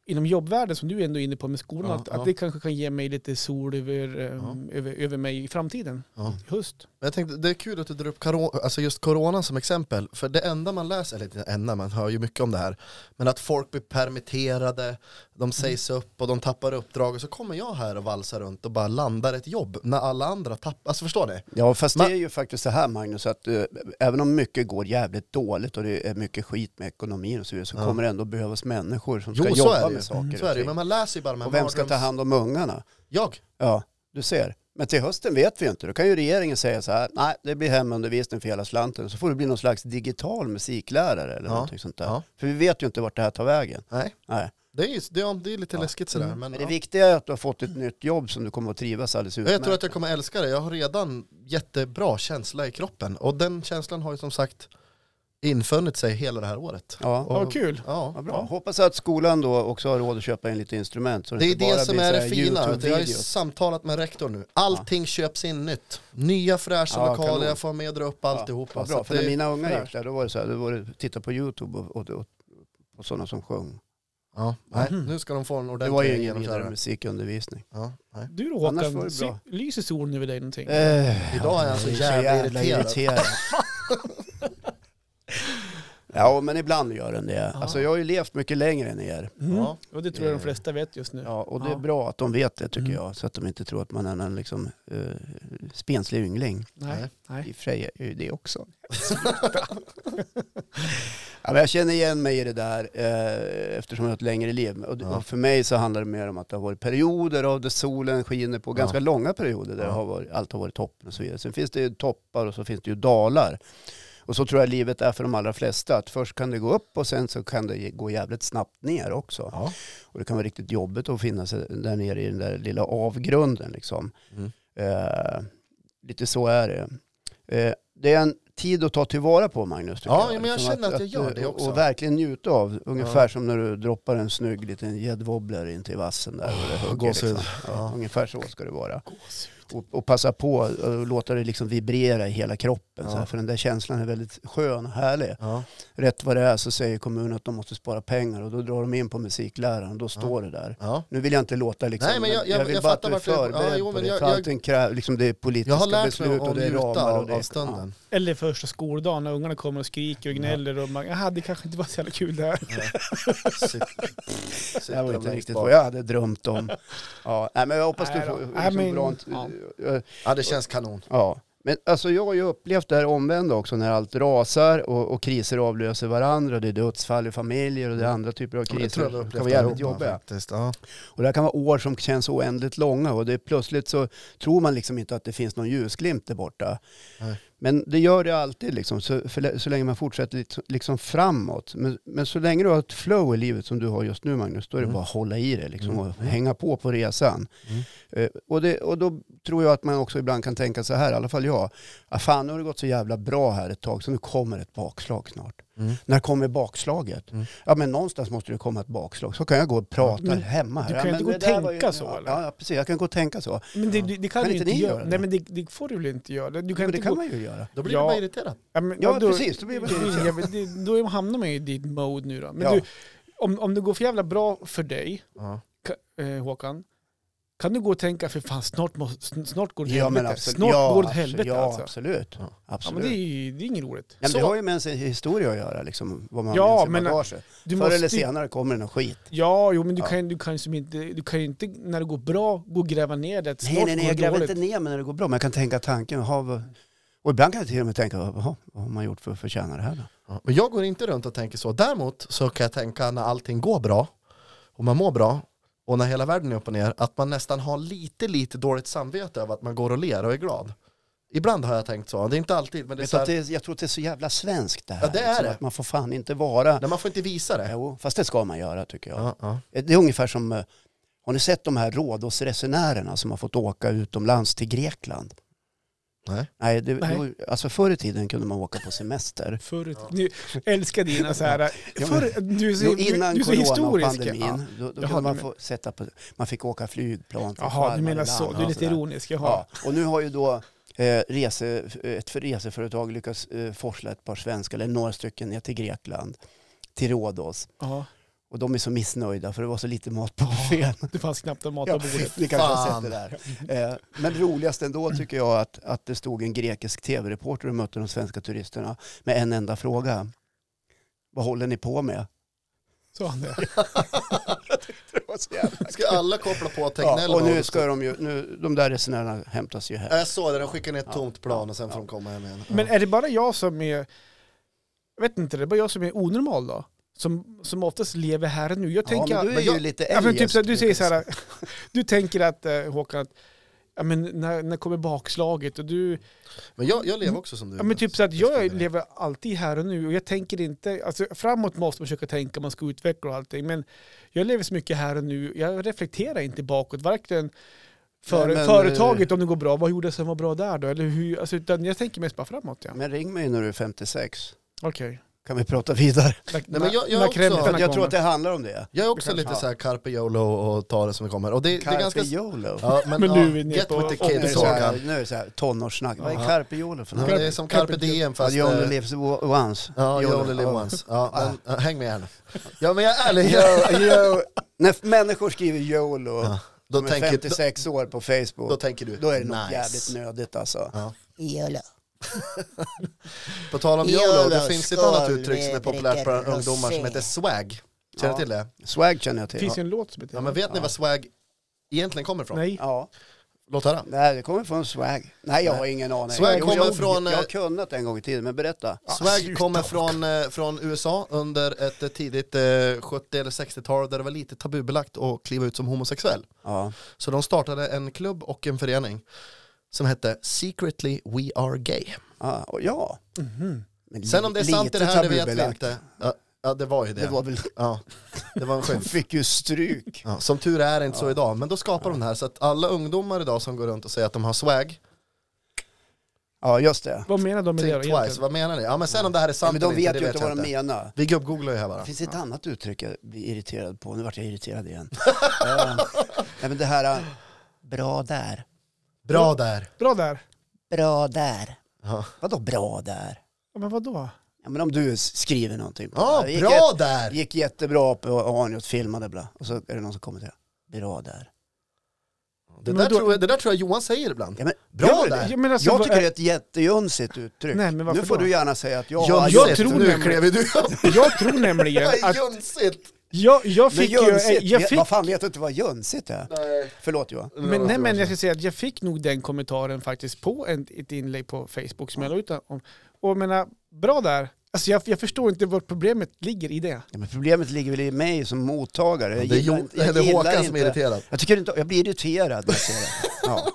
inom jobbvärlden som du är ändå är inne på med skolan, Ja, att, ja. att det kanske kan ge mig lite sol över, eh, över, över mig i framtiden. Ja. I höst. Men jag tänkte, det är kul att du drar upp karo- alltså just corona som exempel. För det enda man läser, eller inte det enda, man hör ju mycket om det här. Men att folk blir permitterade, Mm. de sägs upp och de tappar uppdrag. Och så kommer jag här och valsar runt och bara landar ett jobb när alla andra tappar. Alltså förstår ni? Ja, fast Man- det är ju faktiskt så här Magnus, att eh, även om mycket går jävligt dåligt och det är mycket skit med ekonomin och så vidare, så Ja. kommer det ändå behövas människor som Jo, ska så är jobba det ju. Mm, med saker Så är och det ju, men ting. man läser ju bara de här Och vem ska ta mardröms- hand om ungarna? Jag? Ja, du ser. Men till hösten vet vi ju inte. Då kan ju regeringen säga så här, nej det blir hemundervisning för hela slanten. Så får det bli någon slags digital musiklärare eller Ja. någonting sånt där. Ja. För vi vet ju inte vart det här tar vägen. Nej, Nej. det är, ju, det är, det är lite Ja. läskigt sådär. Mm. Men, Men det ja. viktiga är att du har fått ett nytt jobb som du kommer att trivas alldeles Ja, utmärkt. Jag tror att jag kommer älska det. Jag har redan jättebra känsla i kroppen. Och den känslan har ju som sagt infunnit sig hela det här året. Ja. Ja, vad kul. Ja, Ja. bra. Hoppas att skolan då också har råd att köpa in lite instrument. Så Det är inte bara det som blir är så det här fina. vet du. Jag har ju YouTube-videos. samtalat med rektor nu. Allting köps in nytt. Nya fräscha Ja, lokaler, kanon. jag får med och dra upp alltihopa. Ja, vad Så bra, att för när det- mina ungar gick fräscht. där då var det så här, då var det titta på YouTube och, och, och, och sådana som sjöng. Ja, nej, Mhm. nu ska de få en Det var ju ordentlig ingen vidare genomkörare. musikundervisning. Ja, nej. Du då Annars var Håkan, det sy- bra. lyser solen över dig någonting? Eh, Idag är han så jag jävla irriterad. (laughs) ja, men ibland gör den det. Ja. Alltså jag har ju levt mycket längre än er. Mm. Ja. Och det tror jag de flesta vet just nu. Eh, Ja, och det är Ja. bra att de vet det tycker Mm. jag. Så att de inte tror att man är en liksom, eh, spenslig yngling. Nej. I Nej. och för sig är ju det också. (laughs) ja, men jag känner igen mig i det där eh, eftersom jag har ett längre liv. Och, Ja. och för mig så handlar det mer om att det har varit perioder av där solen skiner på, Ja. ganska långa perioder där Ja. det har varit, allt har varit toppen och så vidare. Sen finns det ju toppar och så finns det ju dalar. Och så tror jag livet är för de allra flesta, att först kan det gå upp och sen så kan det gå jävligt snabbt ner också. Ja. Och det kan vara riktigt jobbigt att finna sig där nere i den där lilla avgrunden liksom. Mm. Eh, lite så är det. Eh, det är en tid att ta tillvara på Magnus. tycker Ja, men jag Liksom känner att jag gör det och- också. Och verkligen njuta av, ungefär som när du droppar en snygg liten gäddwobbler in till vassen där och det hugger. Ah, gåshud. Liksom. Ja, Ja. Ungefär så ska det vara. Och, och passa på att låta det liksom vibrera i hela kroppen. Ja. Så här, för den där känslan är väldigt skön och härlig. Ja. Rätt vad det är så säger kommunen att de måste spara pengar och då drar de in på musikläraren och då står det där. Ja. Nu vill jag inte låta liksom, Nej, men jag- jag- vill jag bara att fattar du är vart du- ja, förberedd jo, på men det. jag- för jag- allting krä- liksom det är Jag politiska har lärt mig beslut att och det är njuta ramar och av, det är... av stunden. Eller första skoldagen när ungarna kommer och skriker och gnäller och man, jaha det kanske inte var så jävla kul det här. (laughs) Sitt- Ja, det sitter var längst inte riktigt bak. vad jag hade drömt om. Ja, nej, men jag hoppas du Nej då. får Nej, liksom men- bra... Ja. Ja, det känns kanon. ja. Men alltså jag har ju upplevt det här omvända också när allt rasar och, och kriser avlöser varandra. och Det är dödsfall i familjer och det är andra typer av Mm. Ja, men det kriser. tror som jag vi har kan upplevt vara jävligt allihopa jobbiga. faktiskt. Ja. Och det här kan vara år som känns oändligt långa och det är plötsligt så tror man liksom inte att det finns någon ljusglimt där borta. Nej. Men det gör det alltid liksom, så, för, så länge man fortsätter lit- liksom framåt. Men, men så länge du har ett flow i livet som du har just nu Magnus, då är det Mm. bara att hålla i det liksom, Mm. och hänga på på resan. Mm. Eh, och, det, och då tror jag att man också ibland kan tänka så här, i alla fall jag, ah, fan nu har det gått så jävla bra här ett tag så nu kommer ett bakslag snart. Mm. När kommer bakslaget? Mm. Ja men någonstans måste det komma ett bakslag. Så kan jag gå och prata Men hemma. Här. du ja, kan ju men inte gå det där och var tänka så, ja, eller? ja, ja precis, jag kan gå och tänka så. Men det, det, det kan, Kan du inte inte ni göra. göra det? Nej men det, det får du väl inte göra. Du kan men inte det kan gå... man ju göra. Då blir Ja. du bara irriterad. Ja, men, Ja då, precis, då blir man då- (laughs) ja, men det- Då hamnar man ju i ditt mode nu då. Men Ja. du, om, om det går för jävla bra för dig, Ja. ka- eh, Håkan, kan du gå och tänka för fan snart, måste, snart går det Ja men helvete. absolut. Snart ja, går det absolut. helvete Ja alltså. absolut. Ja. Ja, men det, absolut. är, Ja, ju- det är inget roligt. men det Så- har ju med ens historia att göra, liksom, vad man Ja, har med sig i men- äh, bagaget. Du Förr eller måste ju- senare kommer det någon skit. Ja, jo, men du Ja. kan ju du kan, som inte, du kan ju inte, när det går bra, gå och gräva ner det. Snart Nej, nej, nej, går jag det gräver dåligt. inte ner mig när det går bra, men jag kan tänka tanken. Jaha, vad... Och ibland kan jag till och med tänka, jaha, vad har man gjort för att förtjäna det här då? Ja. Men jag går inte runt och tänker så. Däremot så kan jag tänka när allting går bra och man mår bra och när hela världen är upp och ner att man nästan har lite, lite dåligt samvete över att man går och ler och är glad. Ibland har jag tänkt så. Det är inte alltid, men det är Vet så du att här, det är, jag tror att det är så jävla svenskt det här. liksom, Ja, det är det. Att man får fan inte vara... nej, man får inte visa det. (laughs) Jo, fast det ska man göra tycker jag. Ja, ja. Det är ungefär som, eh, Har ni sett de här Rhodos-resenärerna som har fått åka utomlands till Grekland? Nej. Nej, det, Nej. då- alltså förr i tiden kunde man åka på semester. Förr, nu, älskar dina så här, men- förr, du är så, Jo, du- innan du är så historisk. coronapandemin, Ja. då, då Jaha, kunde man, du få sätta på, man fick åka flygplan. från Jaha, du varmare menar så. land Du är Typ och lite sådär. ironisk. Jaha. Ja, och nu har ju då eh, rese, ett för- reseföretag lyckats eh, forsla ett par svenskar, eller några stycken, ner till Grekland, till Rhodos. Ja. Och de är så missnöjda för det var så lite mat på buffén. Det fanns knappt en mat Ja, på bordet. ni kanske har Fan. sett det där. Eh, Men roligast ändå tycker jag att, att det stod en grekisk tv-reporter och mötte de svenska turisterna med en enda fråga. Vad håller ni på med? Så han det. Ska alla koppla på Tegnell? Eh, Ja, och nu bara- ska de ju, nu, de där resenärerna hämtas ju Ja, här. Jag såg det, de skickar ner ett Ja. tomt plan och sen Ja. får de komma hem igen. Ja. Men är det bara jag som är, jag vet inte, det är bara jag som är onormal då? Som, som oftast lever här och nu. Jag tänker, ja, men du är jag, ju lite ja, men typ eljest, så här, du säger så brukar jag här, (laughs) du tänker att eh, Håkan, att, ja, men när, när kommer bakslaget? Och du, men jag, jag lever också som du. ja, men typ så att jag skulle- lever alltid här och nu och jag tänker inte, alltså framåt måste man försöka tänka, man ska utveckla och allting, men jag lever så mycket här och nu, jag reflekterar inte bakåt, varken för, Nej, men, företaget om det går bra, vad gjorde jag som var bra där då? Eller hur, alltså, utan jag tänker mest bara framåt. Ja. Men ring mig när du är 56, Okej. kan vi prata vidare. Nej, men jag- jag också- För att jag tror att det handlar om det. Jag är också kanske- lite ja. så här carpe YOLO och ta det som det kommer. Och det, det är Carpe ganska... YOLO. Ja, men, Men nu är vi ja, nere get på- with the Nu är det kids så här- Håkan. Nu är det så här tonårssnack. Vad är Ja. Carpe YOLO för Ja, något? det är som carpe diem fast... You only eh, lives o- once. Ja, you YOLO. only live Ja. once. Ja, Ah. men, ja, häng med här nu. Ja men jag är ärlig. (laughs) Yo, yo. När f- människor skriver YOLO Ja, Då som är tänker, då, 56 år på Facebook, då, då tänker du, är det nog nice. jävligt nödigt alltså. Ja. YOLO. På tal om YOLO, YOLO, det finns ett annat skål, uttryck som är vi populärt bland dricker ungdomar som rosé. heter swag. Känner Ja. du till det? Swag känner jag Det till. finns ju en låt som heter Ja men vet ni vad swag egentligen kommer ifrån? Nej. Ja, Låt höra. det, här, det kommer från swag. Nej, jag har ingen aning. Swag Jo, kommer jag, från, Jag eh, har kunnat en gång i tiden, men berätta. Swag sluta. kommer från, eh, från USA under ett eh, tidigt eh, 70 eller 60-tal där det var lite tabubelagt att kliva ut som homosexuell. Ja. Så de startade en klubb och en förening som hette Secretly We Are Gay. Ja, och ja. Mhm. Men li- Sen om det är sant lite det här, det vet vi tabubelagt. inte. Ja, ja, det var ju det. Det var väl, Ja, det var en (laughs) de skymf. fick ju stryk. Ja, som tur är är det inte så idag, men då skapar de det här så att alla ungdomar idag som går runt och säger att de har swag, Ja, just det. Vad menar de med det think då twice, egentligen? vad menar ni? Ja men sen om det här är Ja, sant men eller de vet inte, det ju vet inte vad jag de inte. menar. Vi gubbgooglar ju här bara. Det finns ett annat uttryck jag blir irriterad på. Nu vart jag irriterad (laughs) igen. Eh, Nej, men det här, eh, bra där. Bra där. Bra där. Bra där. Ja, Vadå bra där? Ja, men vadå? Ja, men om du s- skriver någonting. på ja det här. bra Det där! gick jättebra på Arnjot, filmade bla. Och så är det någon som kommer till det. Bra där. Det Men där, då- tror jag, det där tror jag Johan säger ibland. Ja, men, Bra Ja, där! ja, men alltså, jag vad- tycker det är ett jättejönsigt uttryck. Nej, men varför nu får då? du gärna säga att jag Jönsigt, jag tror nu nämligen- klev ju du (laughs) upp. jag tror nämligen att Jönsigt! jag, jag fick men ju... jönsigt, Jag fick, vad fan vet du inte vad jönsigt är? Nej. Förlåt Johan. men, nej, men jag ska säga att jag fick nog den kommentaren faktiskt på en, ett inlägg på Facebook som jag la ut om. Och jag menar, bra där. Alltså jag, jag förstår inte vad problemet ligger i det. Ja, men problemet ligger väl i mig som mottagare. Jag Det är, gillar jo, inte- det jag är gillar Håkan som är inte- irriterad. Jag, tycker inte, jag blir irriterad när jag ser (laughs) det. Ja.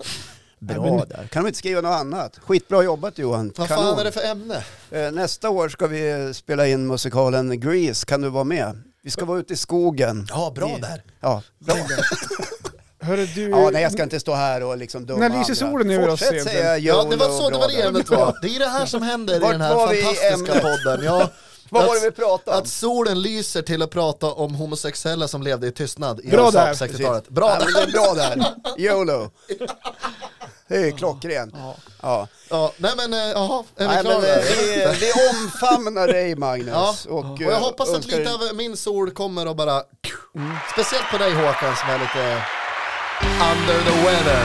Bra Nej, men- där. Kan de inte skriva något annat? Skitbra jobbat Johan. Vad Kanon. fan är det för ämne? Eh, Nästa år ska vi spela in musikalen Grease. Kan du vara med? Vi ska vara ute i skogen. Ja, bra Ni- där. Ja, bra. Hörru du... ja nej, jag ska inte stå här och liksom döma När lyser andra. solen över oss Fortsätt egentligen? säga Ja, det var YOLO, så det bra var där. ämnet var. Det är det här som händer i Vart den här var vi i fantastiska ämnet? podden. Ja, (laughs) Vad var att- det vi pratade om? Att solen lyser till att prata om homosexuella som levde i tystnad (laughs) i Bra USA där. på 60-talet. Bra, Bra! ja, men det är bra där. YOLO. Det är klockrent. Ja. Ja. Ja, nej men, eh, jaha, är vi Nej, men, klara? eh, vi, vi omfamnar dig Ja, Magnus. Och, och jag eh, hoppas att önskar lite dig- av min sol kommer och bara... Speciellt på dig Håkan som är lite under the weather.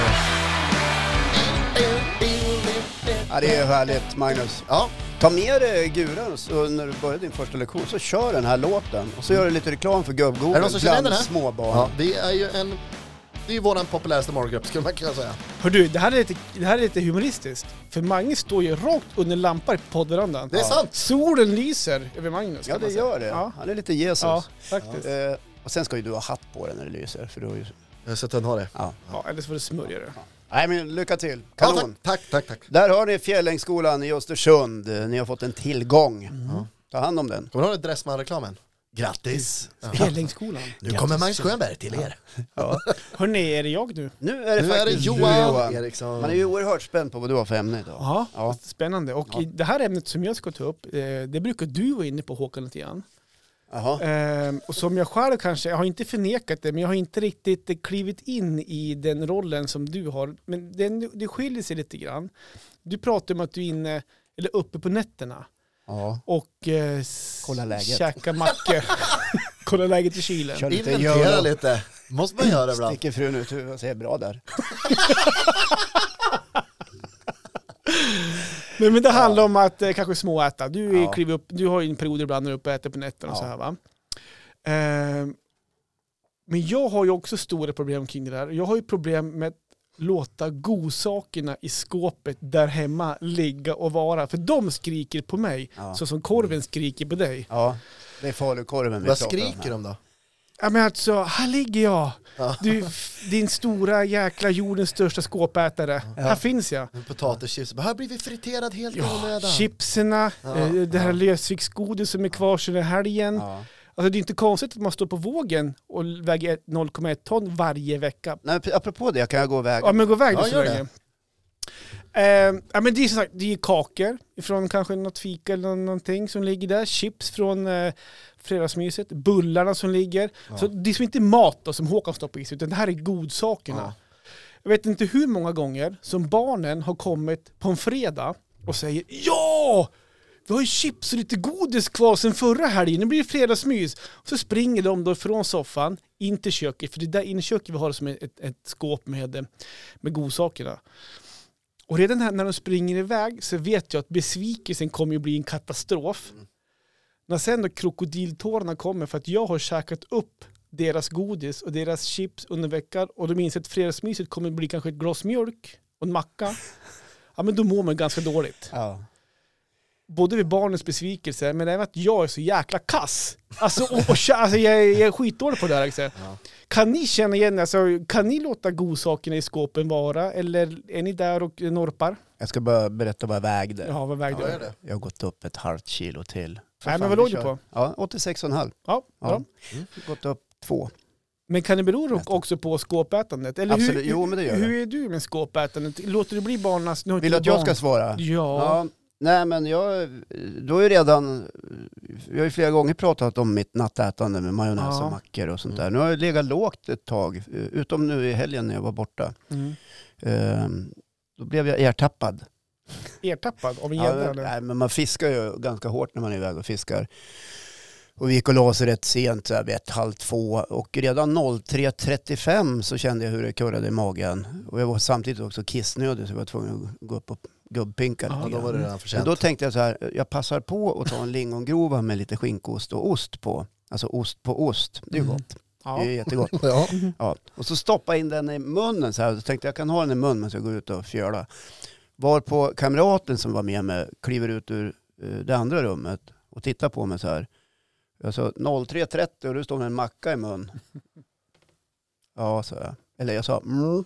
Ja, det är härligt Magnus. Ja, Ta med dig guran så när du börjar din första lektion så kör den här låten och så gör du lite reklam för gubb-Google är det någon som känner igen bland den här? små barn. Ja, det är ju en... Det är ju våran populäraste morgongrupp skulle man kunna säga. Hör du, det här, är lite, det här är lite humoristiskt. För Magnus står ju rakt under lampan i poddverandan. Det är Ja. sant! Solen lyser över Magnus. Ja kan det man säga. gör det. Ja, Han är lite Jesus. ja faktiskt. Ja. Eh, och sen ska ju du ha hatt på dig när det lyser. För då är ju... Jag har sett den har det. ja. eller så får du smörja det. Nej men lycka till, Ja, kanon. tack, tack, tack, tack. Där har ni Mm. Fjällängsskolan i Östersund. Ni har fått en tillgång. Ta hand om den. Kommer du ihåg den där Dressman-reklamen? Grattis! Spelningsskolan. Nu kommer Magnus Sjöberg till er. Ja. Hörni, är det jag nu? Nu är det Nu är det faktiskt du, Johan Eriksson. Man är ju oerhört spänd på vad du har för ämne idag. Ja, Ja. spännande. Och i det här ämnet som jag ska ta upp, eh, det brukar du vara inne på Håkan lite grann. Jaha. Eh, och som jag själv kanske, jag har inte förnekat det, men jag har inte riktigt eh, klivit in i den rollen som du har. Men den, det skiljer sig lite grann. Du pratar om att du är inne, eller uppe på nätterna Ja. och eh, s- Kolla läget. (laughs) käkar mackor. Kolla läget i kylen. Kör lite Inventera göl lite. Måste man göra och ibland. sticker frun ut huvudet och säger bra där. Nej, men det handlar om att eh, kanske småäta. Du, Ja. ja. upp, du har ju en period ibland när du är uppe och äter på nätterna och Ja. så här va. Ehm, men jag har ju också stora problem kring det där. Jag har ju problem med att låta godsakerna i skåpet där hemma ligga och vara. För de skriker på mig, Ja. Mm. så som korven skriker på dig. Ja. Det är falukorven vi Vad pratar om här. skriker de då? Ja men alltså, här ligger jag! Ja. Du, f- din stora jäkla jordens största skåpätare. Här finns jag. En Potatischips. Här blir vi friterad helt i Ja, onödan. chipserna, Ja. eh, det här lösviktsgodiset som är kvar sedan helgen. Ja. Alltså det är inte konstigt att man står på vågen och väger ett- 0,1 ton varje vecka. Nej, apropå det, kan jag gå vägen? Ja men gå iväg Ja, du så gör länge. Eh, ja, men det är som sagt, det är kakor från kanske något fika eller någonting som ligger där. Chips från eh, fredagsmyset, bullarna som ligger. Så det är som inte mat då, som Håkan stoppar i sig, utan det här är godsakerna. Ja. Jag vet inte hur många gånger som barnen har kommit på en fredag och säger ja! Vi har ju chips och lite godis kvar sen förra helgen, nu blir det fredagsmys. Och så springer de då från soffan in till köket, för det är där inne i köket vi har som ett, ett skåp med, eh, med godsakerna. Och redan här, när de springer iväg så vet jag att besvikelsen kommer ju bli en katastrof. När sen då krokodiltårarna kommer för att jag har käkat upp deras godis och deras chips under veckan och de inser att fredagsmyset kommer bli kanske ett glas mjölk och en macka. Ja men då mår man ganska dåligt. Ja. Både vid barnens besvikelse men även att jag är så jäkla kass. Alltså, och, och, kä- alltså jag, är- jag är skitdålig på det här. Liksom. Kan ni känna igen, alltså, kan ni låta godsakerna i skåpen vara eller är ni där och norpar? Jag ska bara berätta vad jag vägde. Ja, vad vägde Ja, gör du? det. Jag har gått upp ett halvt kilo till. För Nej, men fan, vad vi låg du kör. på? Ja, 86,5. Ja, Ja. Mm. bra. Gått upp två. Men kan det bero dock också på skåpätandet? Eller Absolut. hur, Jo, men det gör hur är du med skåpätandet? Låter du bli barnas... nu har Vill inte du att jag barn. ska svara? Ja. Ja, nej men jag, du har ju redan, vi har ju flera gånger pratat om mitt nattätande med majonnäs Ja. Mm. och mackor och sånt där. Nu har jag legat lågt ett tag, utom nu i helgen när jag var borta. Mm. Ehm, Då blev jag ertappad. Ertappad av en Ja, gädda men- eller? nej, men man fiskar ju ganska hårt när man är iväg och fiskar. Och vi gick och la oss rätt sent, så här vid ett, halv två. Och redan 03.35 så kände jag hur det kurrade i magen. Och jag var samtidigt också kissnödig så jag var tvungen att gå upp och gubbpinka Ja, lite Ja, då grann. var det redan för Men sent. då tänkte jag så här, jag passar på att ta en lingongrova med lite skinkost och ost på. Alltså ost på ost, det är ju Mm. gott. Ja. Det är ju jättegott. Ja. Ja. Och så stoppa in den i munnen så här. Så tänkte jag, jag kan ha den i munnen men så går jag ut och fjöla. Var på kamraten som var med mig kliver ut ur eh, det andra rummet och tittar på mig så här. Jag sa 03.30 och du står med en macka i mun. Ja, sa jag. Eller jag sa mm.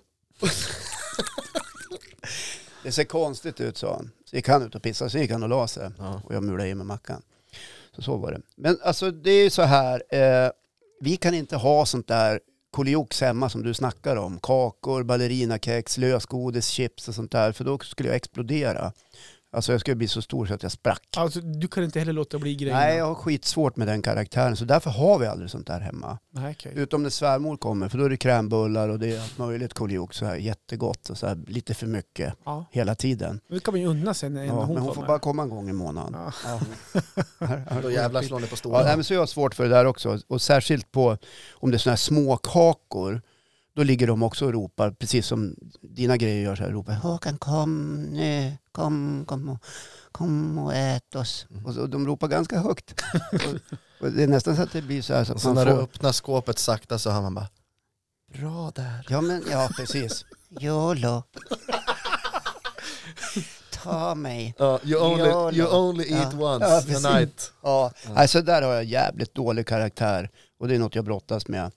Det ser konstigt ut, sa han. Så gick han ut och pissade, så gick han och la sig Ja. och jag mulade i mig mackan. Så så var det. Men alltså det är ju så här, eh, vi kan inte ha sånt där koliox hemma som du snackar om. Kakor, ballerinakex, lösgodis, chips och sånt där. För då skulle jag explodera. Alltså jag skulle bli så stor så att jag sprack. Alltså, du kan inte heller låta bli grejerna? Nej, jag har skitsvårt med den karaktären. Så därför har vi aldrig sånt där hemma. Nej, okej. Utom när svärmor kommer, för då är det krämbullar och det är allt möjligt koliox. Så här, jättegott och så här, lite för mycket Ja. hela tiden. Men Det kan man ju unna sen när Ja, hon, men hon får kommer. bara komma en gång i månaden. Ja. (laughs) Ja. Då jävlar slår ni på Ja, nej, stolen. men så jag har svårt för det där också. Och särskilt på om det är sådana här små kakor. Då ligger de också och ropar, precis som dina grejer gör så här. Ropar Håkan kom nu, kom, kom, kom och ät oss. Och så, de ropar ganska högt. och, och det är nästan så att det blir så här så Och att sen man när du får... öppnar skåpet sakta så hör man bara Bra där. Ja, men, ja precis. YOLO. Ta mig. you, only- only, you you only eat eat Ja. once once Ja, a a precis. night. Ja, alltså där har jag jävligt dålig karaktär och det är något jag brottas med.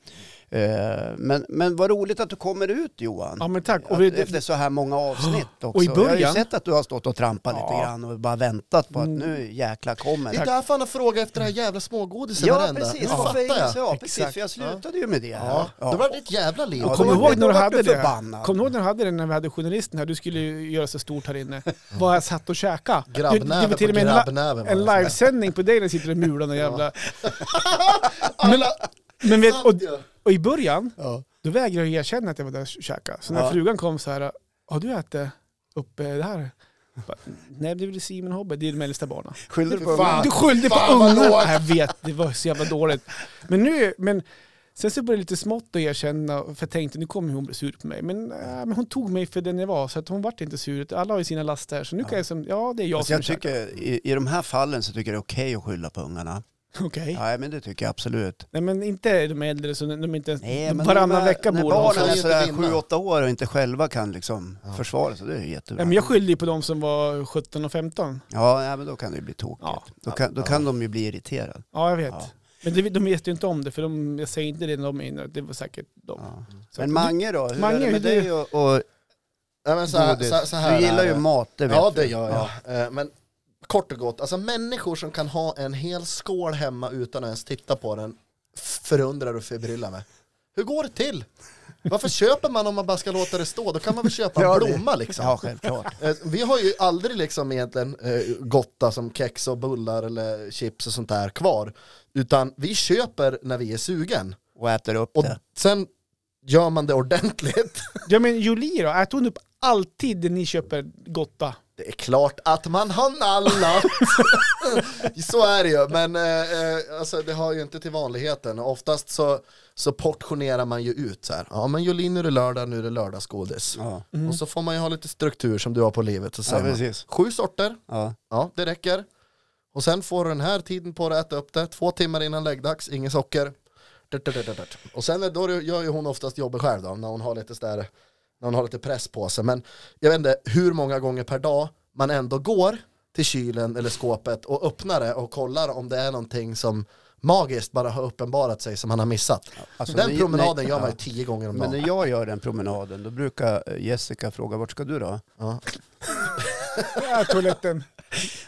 Eh, Eh, Men, men vad roligt att du kommer ut Johan. Ja men tack. Att Och vi, efter så här många avsnitt också. (gasps) Och i Jag har början- ju sett att du har stått och trampat Ja. lite grann och bara väntat på att Mm. nu jäkla kommer Det är därför han har frågat efter det här jävla smågodisen Ja varenda. precis, Nu varför fattar är det så? jag. Ja, precis, Exakt. för jag slutade ju med det. Ja. här. Då var det ett jävla liv. Ja, Kommer då- du ihåg när då du vart hade det? förbannad. Kommer du ihåg när du hade det när vi hade journalisten här? Du skulle ju göra så stort här inne. Vad jag satt och käka. Du- det var Grabbnäve på till och med en la- Mm. grabbnäven. En var det. livesändning på dig när du sitter och mular den jävla... Men, Alla- men vet, och, Sant ju. och i början, Ja. då vägrade jag erkänna att jag var där och käkade. Så när Ja. frugan kom så här, har du ätit uppe det här? Jag Bara, Nej, det är väl Simon Hobbe, det är de äldsta barnen. Skyller du på Fan. mig? Du skyllde på Fan, vad ungarna! lågt. Nej, Jag vet, det var så jävla dåligt. Men nu, men sen så började jag lite smått att erkänna, för jag tänkte nu kommer hon bli sur på mig. Men, äh, men hon tog mig för den jag var, så att hon vart inte sur. Alla har ju sina laster, så nu kan jag som, ja det är jag Alltså som jag käkar. tycker, i, I de här fallen så tycker jag det är okej att skylla på ungarna. (laughs) Mm. Okej. Nej men det tycker jag absolut. Nej men inte de äldre, så de de är inte ens, Nej, men varannan när, vecka när bor de barnen kan är ju sådär inte vinna. 7-8 år och inte själva kan liksom Ja. försvara sig, det är ju jättebra. Nej, men jag skyllde ju på de som var 17 och 15. Ja, nej, men då kan det ju bli tokigt. Ja. Då kan, då kan de ju bli irriterade. Ja, jag vet. Ja. Men det, de vet ju inte om det, för de, jag säger inte det när de är inne. Det var säkert de. Ja. Så att- Men Mange då, hur Mange, är det med hur dig och, och Nej, men så här, godis? så, så här du gillar är ju det. mat, det vet Ja, vi. det gör jag. Eh, Men kort och gott, alltså människor som kan ha en hel skål hemma utan att ens titta på den förundrar och förbryllar mig. Hur går det till? Varför köper man om man bara ska låta det stå? Då kan man väl köpa Ja, en det- blomma liksom. Ja, självklart. Eh, Vi har ju aldrig liksom egentligen eh, gotta som kex och bullar eller chips och sånt där kvar. Utan vi köper när vi är sugen. Och äter upp Och det. sen gör man det ordentligt. Ja men Julie då, äter hon upp alltid det ni köper Gotta? Det är klart att man har nallat. (laughs) så är det ju, men eh, eh, alltså, det har ju inte till vanligheten. Och Oftast så, så portionerar man ju ut så här. Ja men Jolin nu är det lördag, nu är det lördagsgodis. Ja, Och så får man ju ha lite struktur som du har på livet. Så ja säger man, precis. Sju sorter, Ja. ja det räcker. Och sen får du den här tiden på dig att äta upp det. Två timmar innan läggdags, inget socker. Dut, dut, dut, dut, dut. Och sen är- då gör ju hon oftast jobbet själv då, när hon har lite sådär, när hon har lite press på sig. Men jag vet inte hur många gånger per dag man ändå går till kylen eller skåpet och öppnar det och kollar om det är någonting som magiskt bara har uppenbarat sig som man har missat. Alltså, Den när- promenaden när- gör man ju ja. tio gånger om Men dagen. när jag gör den promenaden, då brukar eh, Jessica fråga, vart ska du då? Ja. Ja, toaletten.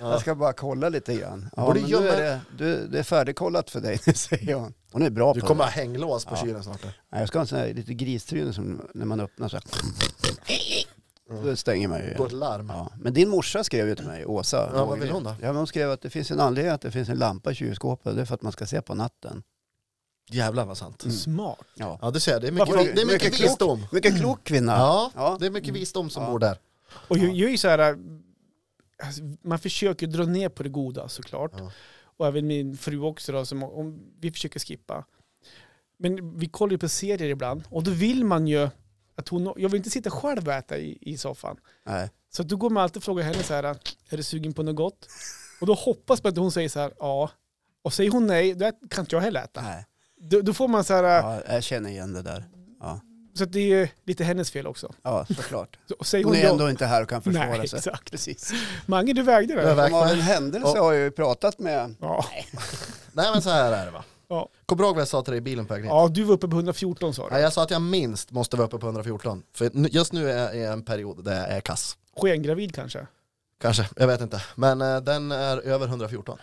Jag ska bara kolla lite grann. Ja, Borde men gömma- nu är det, du, det är färdigkollat för dig, (laughs) säger hon. Hon är bra Du på kommer det. ha hänglås på Ja. kylen snart. Nej, jag ska ha en sån här lite gristryne som när man öppnar så här. Då stänger man ju igen. Går ett larm. Ja, men din morsa skrev ju till mig, Åsa. Ja, vad Ågren. vill hon då? Ja, men hon skrev att det finns en anledning att det finns en lampa i kylskåpet. Det är för att man ska se på natten. Jävlar vad sant. Smart. Ja. Ja du ser, det är mycket, Varför- det är mycket, mycket klokt. visdom. Mycket klok kvinna. Ja, Ja. det är mycket visdom som Ja. bor där. Och Ja. jag, jag är ju så här, alltså, man försöker dra ner på det goda såklart. Ja. Och även min fru också då, som om, vi försöker skippa. Men vi kollar ju på serier ibland och då vill man ju att hon, jag vill inte sitta själv och äta i, i soffan. Nej. Så att då går man alltid och frågar henne så här, är du sugen på något gott? Och då hoppas man att hon säger så här, ja. Och säger hon nej, då ät- kan inte jag heller äta. Nej. Då, då får man så här, Ja, jag känner igen det där. Ja, Så att det är ju lite hennes fel också. ja (laughs) såklart. Så, och säger Hon hon är ja- ändå inte här och kan försvara Nej, sig. exakt. Precis. Mange, du vägde Jag det? vägde. Som av en händelse har jag ju pratat med... Ja. (laughs) Nej men så här är det va. Ja. Kommer du ihåg vad jag sa till dig i bilen på vägen hit? ja, du var uppe på 114 sa du. Nej, jag sa att jag minst måste vara uppe på 114. För nu- just nu är jag i en period där jag är kass. Skengravid kanske? Kanske, jag vet inte. Men eh, den är över 114.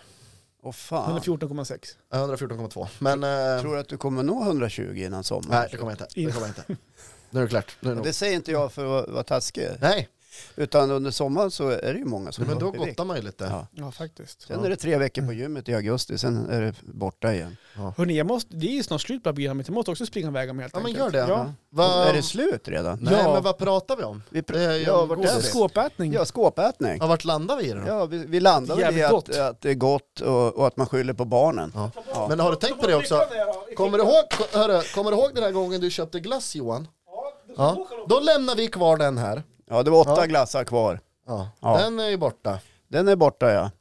Åh fan. 114,6. Eh, 114,2. Men eh, Tror du att du kommer nå 120 innan sommaren? nej, det kommer jag inte. Det kommer jag inte. Nu är det klart. Nu är det Och nog. Det säger inte jag för att vara- vara taskig. Nej, Utan under sommaren så är det ju många som men går då upp i vikt. gottar man ju lite. Ja. Ja, faktiskt. Sen är det tre veckor på gymmet i augusti, sen är det borta igen. Hörrni, jag måste, det är ju snart slut på programmet. Jag måste också springa vägar med helt Ja men enkelt. gör det. Ja. Va, Är det slut redan? nej Ja. men vad pratar vi om? Vi pr- Det är ju- ja, vart är vi? Skåpätning. Ja, skåpätning. Ja, vart landar vi i det då? Ja, vi, vi landar väl i Jävligt att, gott. att det är gott och, och att man skyller på barnen. Ja. Men har du tänkt på det också? Kommer du, ihåg, ko- hörru, kommer du ihåg den här gången du köpte glass Johan? Ja. Då lämnar vi kvar den här. Ja, det var åtta Ja. glassar kvar. Ja. Ja. Den är ju borta. Den är borta ja.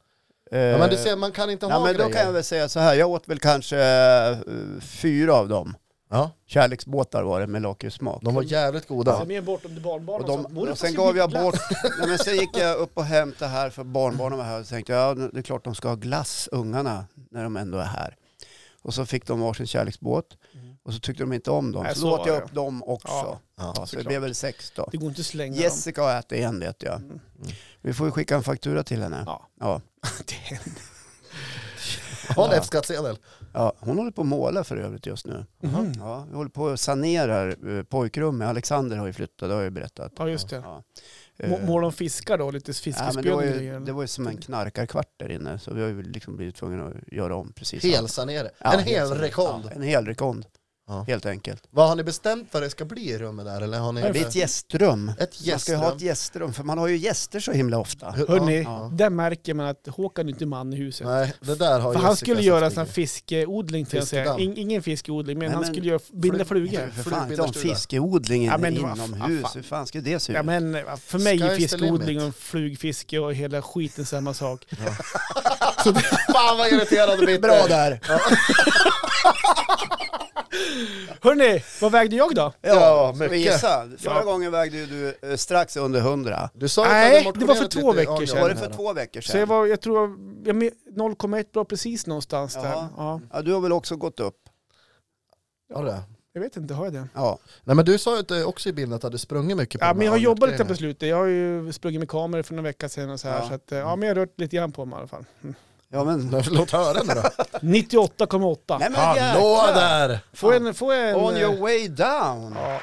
Ja, men du ser, man kan inte ja, ha men grejer. då kan jag väl säga så här, jag åt väl kanske eh, fyra av dem. Ja, Kärleksbåtar var det med lakritssmak. de var jävligt goda. Ta med bort om du barnbarn Och, och, sånt. de, Morfar och sen ska gav bjuda jag glass. bort, nej, men sen gick jag upp och hämtade här för barnbarnen var här och tänkte ja det är klart de ska ha glass ungarna när de ändå är här. Och så fick de varsin kärleksbåt Och så tyckte de inte om dem. Nej, så, så åt var jag det. upp dem också. Ja, Ja, Ja. så det såklart. blev väl sex då. Det går inte att slänga dem. Jessica har ätit en vet jag. Mm. Vi får ju skicka en faktura till henne. Ja. Ja. Det händer. Har en Ja. F-skattsedel. Ja, hon håller på att måla för övrigt just nu. Mhm. Ja, vi håller på att sanerar eh, pojkrummet. Alexander har ju flyttat, det har jag ju berättat. Ja, just det. Ja. Må- Eh, Målar de fiskar då? Lite ja, men det, var fiskespjäll och ju, grejer? det var ju som en knarkarkvart där inne så vi har ju liksom blivit tvungna att göra om precis. allt. Helsanering. Ja, en hel sanering. rekond. Ja, en hel rekond, Ja. helt enkelt. Vad har ni bestämt vad det ska bli i rummet där? Eller har ni Ja, Det är ett gästrum. ett Man ska ju ha gästrum? ett gästrum, för man har ju gäster så himla ofta. Hur- Hörrni, Ja. där märker man att Håkan är inte man i huset. Nej, det där har För han Jessica skulle göra en sett sån här mycket. fiskeodling, tänkte jag säga. Fiskedamm. In, ingen fiskeodling, men Nej, han men- Typ. skulle göra, (laughs) binda Flyg- Ja, flugor. för fan, inte Flugbildarstuga. om fiskeodlingen Ja, men det var- inomhus, ja, fan. hur fan ska det se ut? Ja, men för mig Sky's är the fiskeodling och limit. flugfiske och hela skiten samma sak. (laughs) Fan vad irriterad du blir. Bra där! Ja, Hörrni, vad vägde jag då? Ja, ska vi mycket. gissa? Förra Ja. gången vägde ju du eh, strax under 100. Du sa Nej, att du hade det var för motionerat två lite, veckor Arne, sedan. Var det om för här. två veckor Så jag sedan? var, jag tror, jag men- 0,1 bra precis någonstans där. Jaha. Ja, Ja, du har väl också gått upp? då. Har det? jag vet inte, har jag det? Ja. Nej men du sa ju att det också i bilden att du hade sprungit mycket på Ja, de men jag här har jobbat lite på grejerna. slutet. Jag har ju sprungit med kameror för några veckor sedan och så här. Ja. Så att, eh, ja, men jag har rört lite grann på mig i alla fall. Mm. ja men... Låt höra (laughs) nu då. 98,8. Nej men Hallå jäklar! där! Får jag en... Får jag en On eh, your way down! Ja.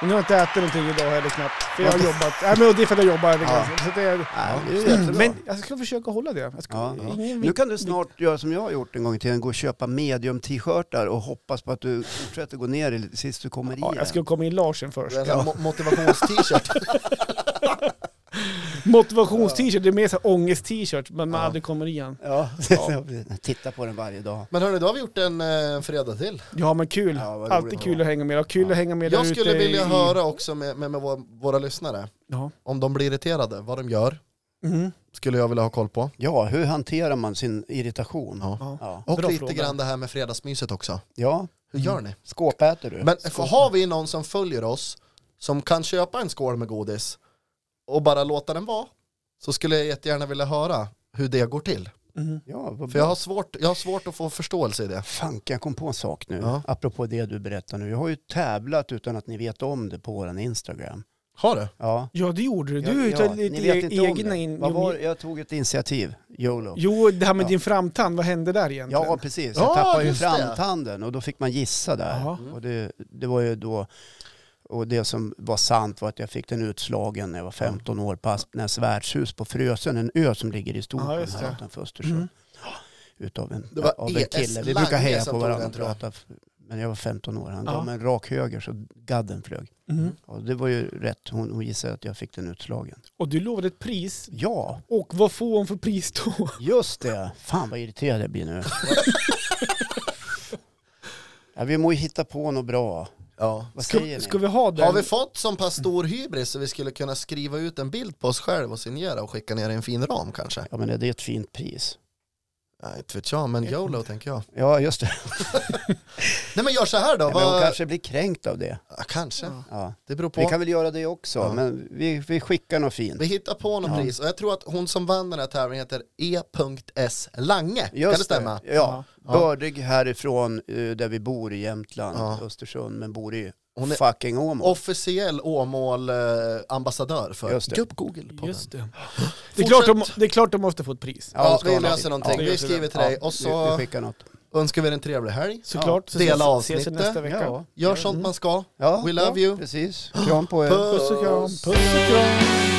Men nu har jag inte ätit någonting idag heller knappt. För jag har jobbat. Nej men det är för att jag jobbar. Ja. Så det är, Ja, det är ju jättebra. Mm. men jag ska försöka hålla det. Jag ska, Ja, ja. Ingen, Nu kan du snart göra som jag har gjort en gång till gå och köpa medium t-shirtar och hoppas på att du fortsätter gå ner i- tills du kommer i ja, den. jag skulle komma in Larsen först. Det är en sån här mo- motivations-t-shirt. Motivations-t-shirt, det är mer så här ångest-t-shirt men man Ja. aldrig kommer igen. Ja. (laughs) Ja. Titta på den varje dag. (laughs) Men hörni, då har vi gjort en eh, fredag till. Ja men kul. Ja, vad roligt. Alltid kul att hänga med. Och kul Ja. att hänga med Jag där ute skulle vilja i- höra också med, med, med våra, våra lyssnare, Ja. om de blir irriterade, vad de gör, Mm. skulle jag vilja ha koll på. Ja, hur hanterar man sin irritation? Ja. Ja. Ja, Och Bra lite fråga. grann det här med fredagsmyset också. ja Hur gör ni? skåpäter du. Men för har vi någon som följer oss, som kan köpa en skål med godis och bara låta den vara, så skulle jag jättegärna vilja höra hur det går till. Mm. ja, vad För jag bra. har svårt, jag har svårt att få förståelse i det. Fan, jag kom på en sak nu, Ja. apropå det du berättar nu. Jag har ju tävlat utan att ni vet om det på vår Instagram. Har du? Ja. Ja det gjorde du. Ja, Du ja, tog lite e- ni vet inte om egna det. in... Vad var, jag tog ett initiativ, YOLO. Jo det här med Ja. din framtand, vad hände där egentligen? Ja, precis. Jag Ja, tappade ju just det. framtanden och då fick man gissa där. Jaha. Och det, det var ju då, och det som var sant var att jag fick den utslagen när jag var 15 år på Aspnäs värdshus på Frösön, en ö som ligger i Ja, Storsjön just här det. utanför Östersund. Mm. Utav en, Det var av en ES kille. Vi Lange brukar heja på som tog varandra den, och tror jag. prata. Men jag var 15 år. Han Ja. gav mig en rak höger så gadden flög. Mm. Och det var ju rätt. Hon, hon gissade att jag fick den utslagen. Och du lovade ett pris. Ja, Och vad får hon för pris då? Just det. Fan vad irriterad jag (laughs) blir nu. ja, vi må ju hitta på något bra. Ja. Vad säger Ska, ni? ska vi ha den? Har vi fått så pass stor hybris så vi skulle kunna skriva ut en bild på oss själv och signera och skicka ner i en fin ram kanske? Ja men är det ett fint pris? Nej, inte vet jag, men YOLO tänker jag. Ja just det. Nej men gör så här då, Ja, men hon vad... kanske. kanske blir kränkt av det. Ja, kanske. Ja. Ja. Det beror på. Vi Vi, kan väl göra det också Ja. men vi, vi skickar något fint. hittar på något Ja. pris och jag tror att hon som vann den här tävlingen heter E.S. Lange. kan Just det stämma? Ja. Ja. Bördig härifrån eh, där vi bor i Jämtland, Ja. Östersund, men bor i Hon är- fucking Åmål. Officiell Åmål-ambassadör för Just det. Gubb Google-podden. Just det. Det är, klart de, det är klart de måste få ett pris. de Ja, ska vi ha något löser fint. någonting. Ja, vi vi skriver löser till det. dig och Vi, så vi skickar något. önskar vi dig en trevlig helg. Såklart. Så Dela ses- ses avsnittet. nästa vecka. Ja. Gör sånt man ska. Ja, We love ja, you. Precis. Kram på er. (gasps) Puss. Puss och kram. Puss och kram.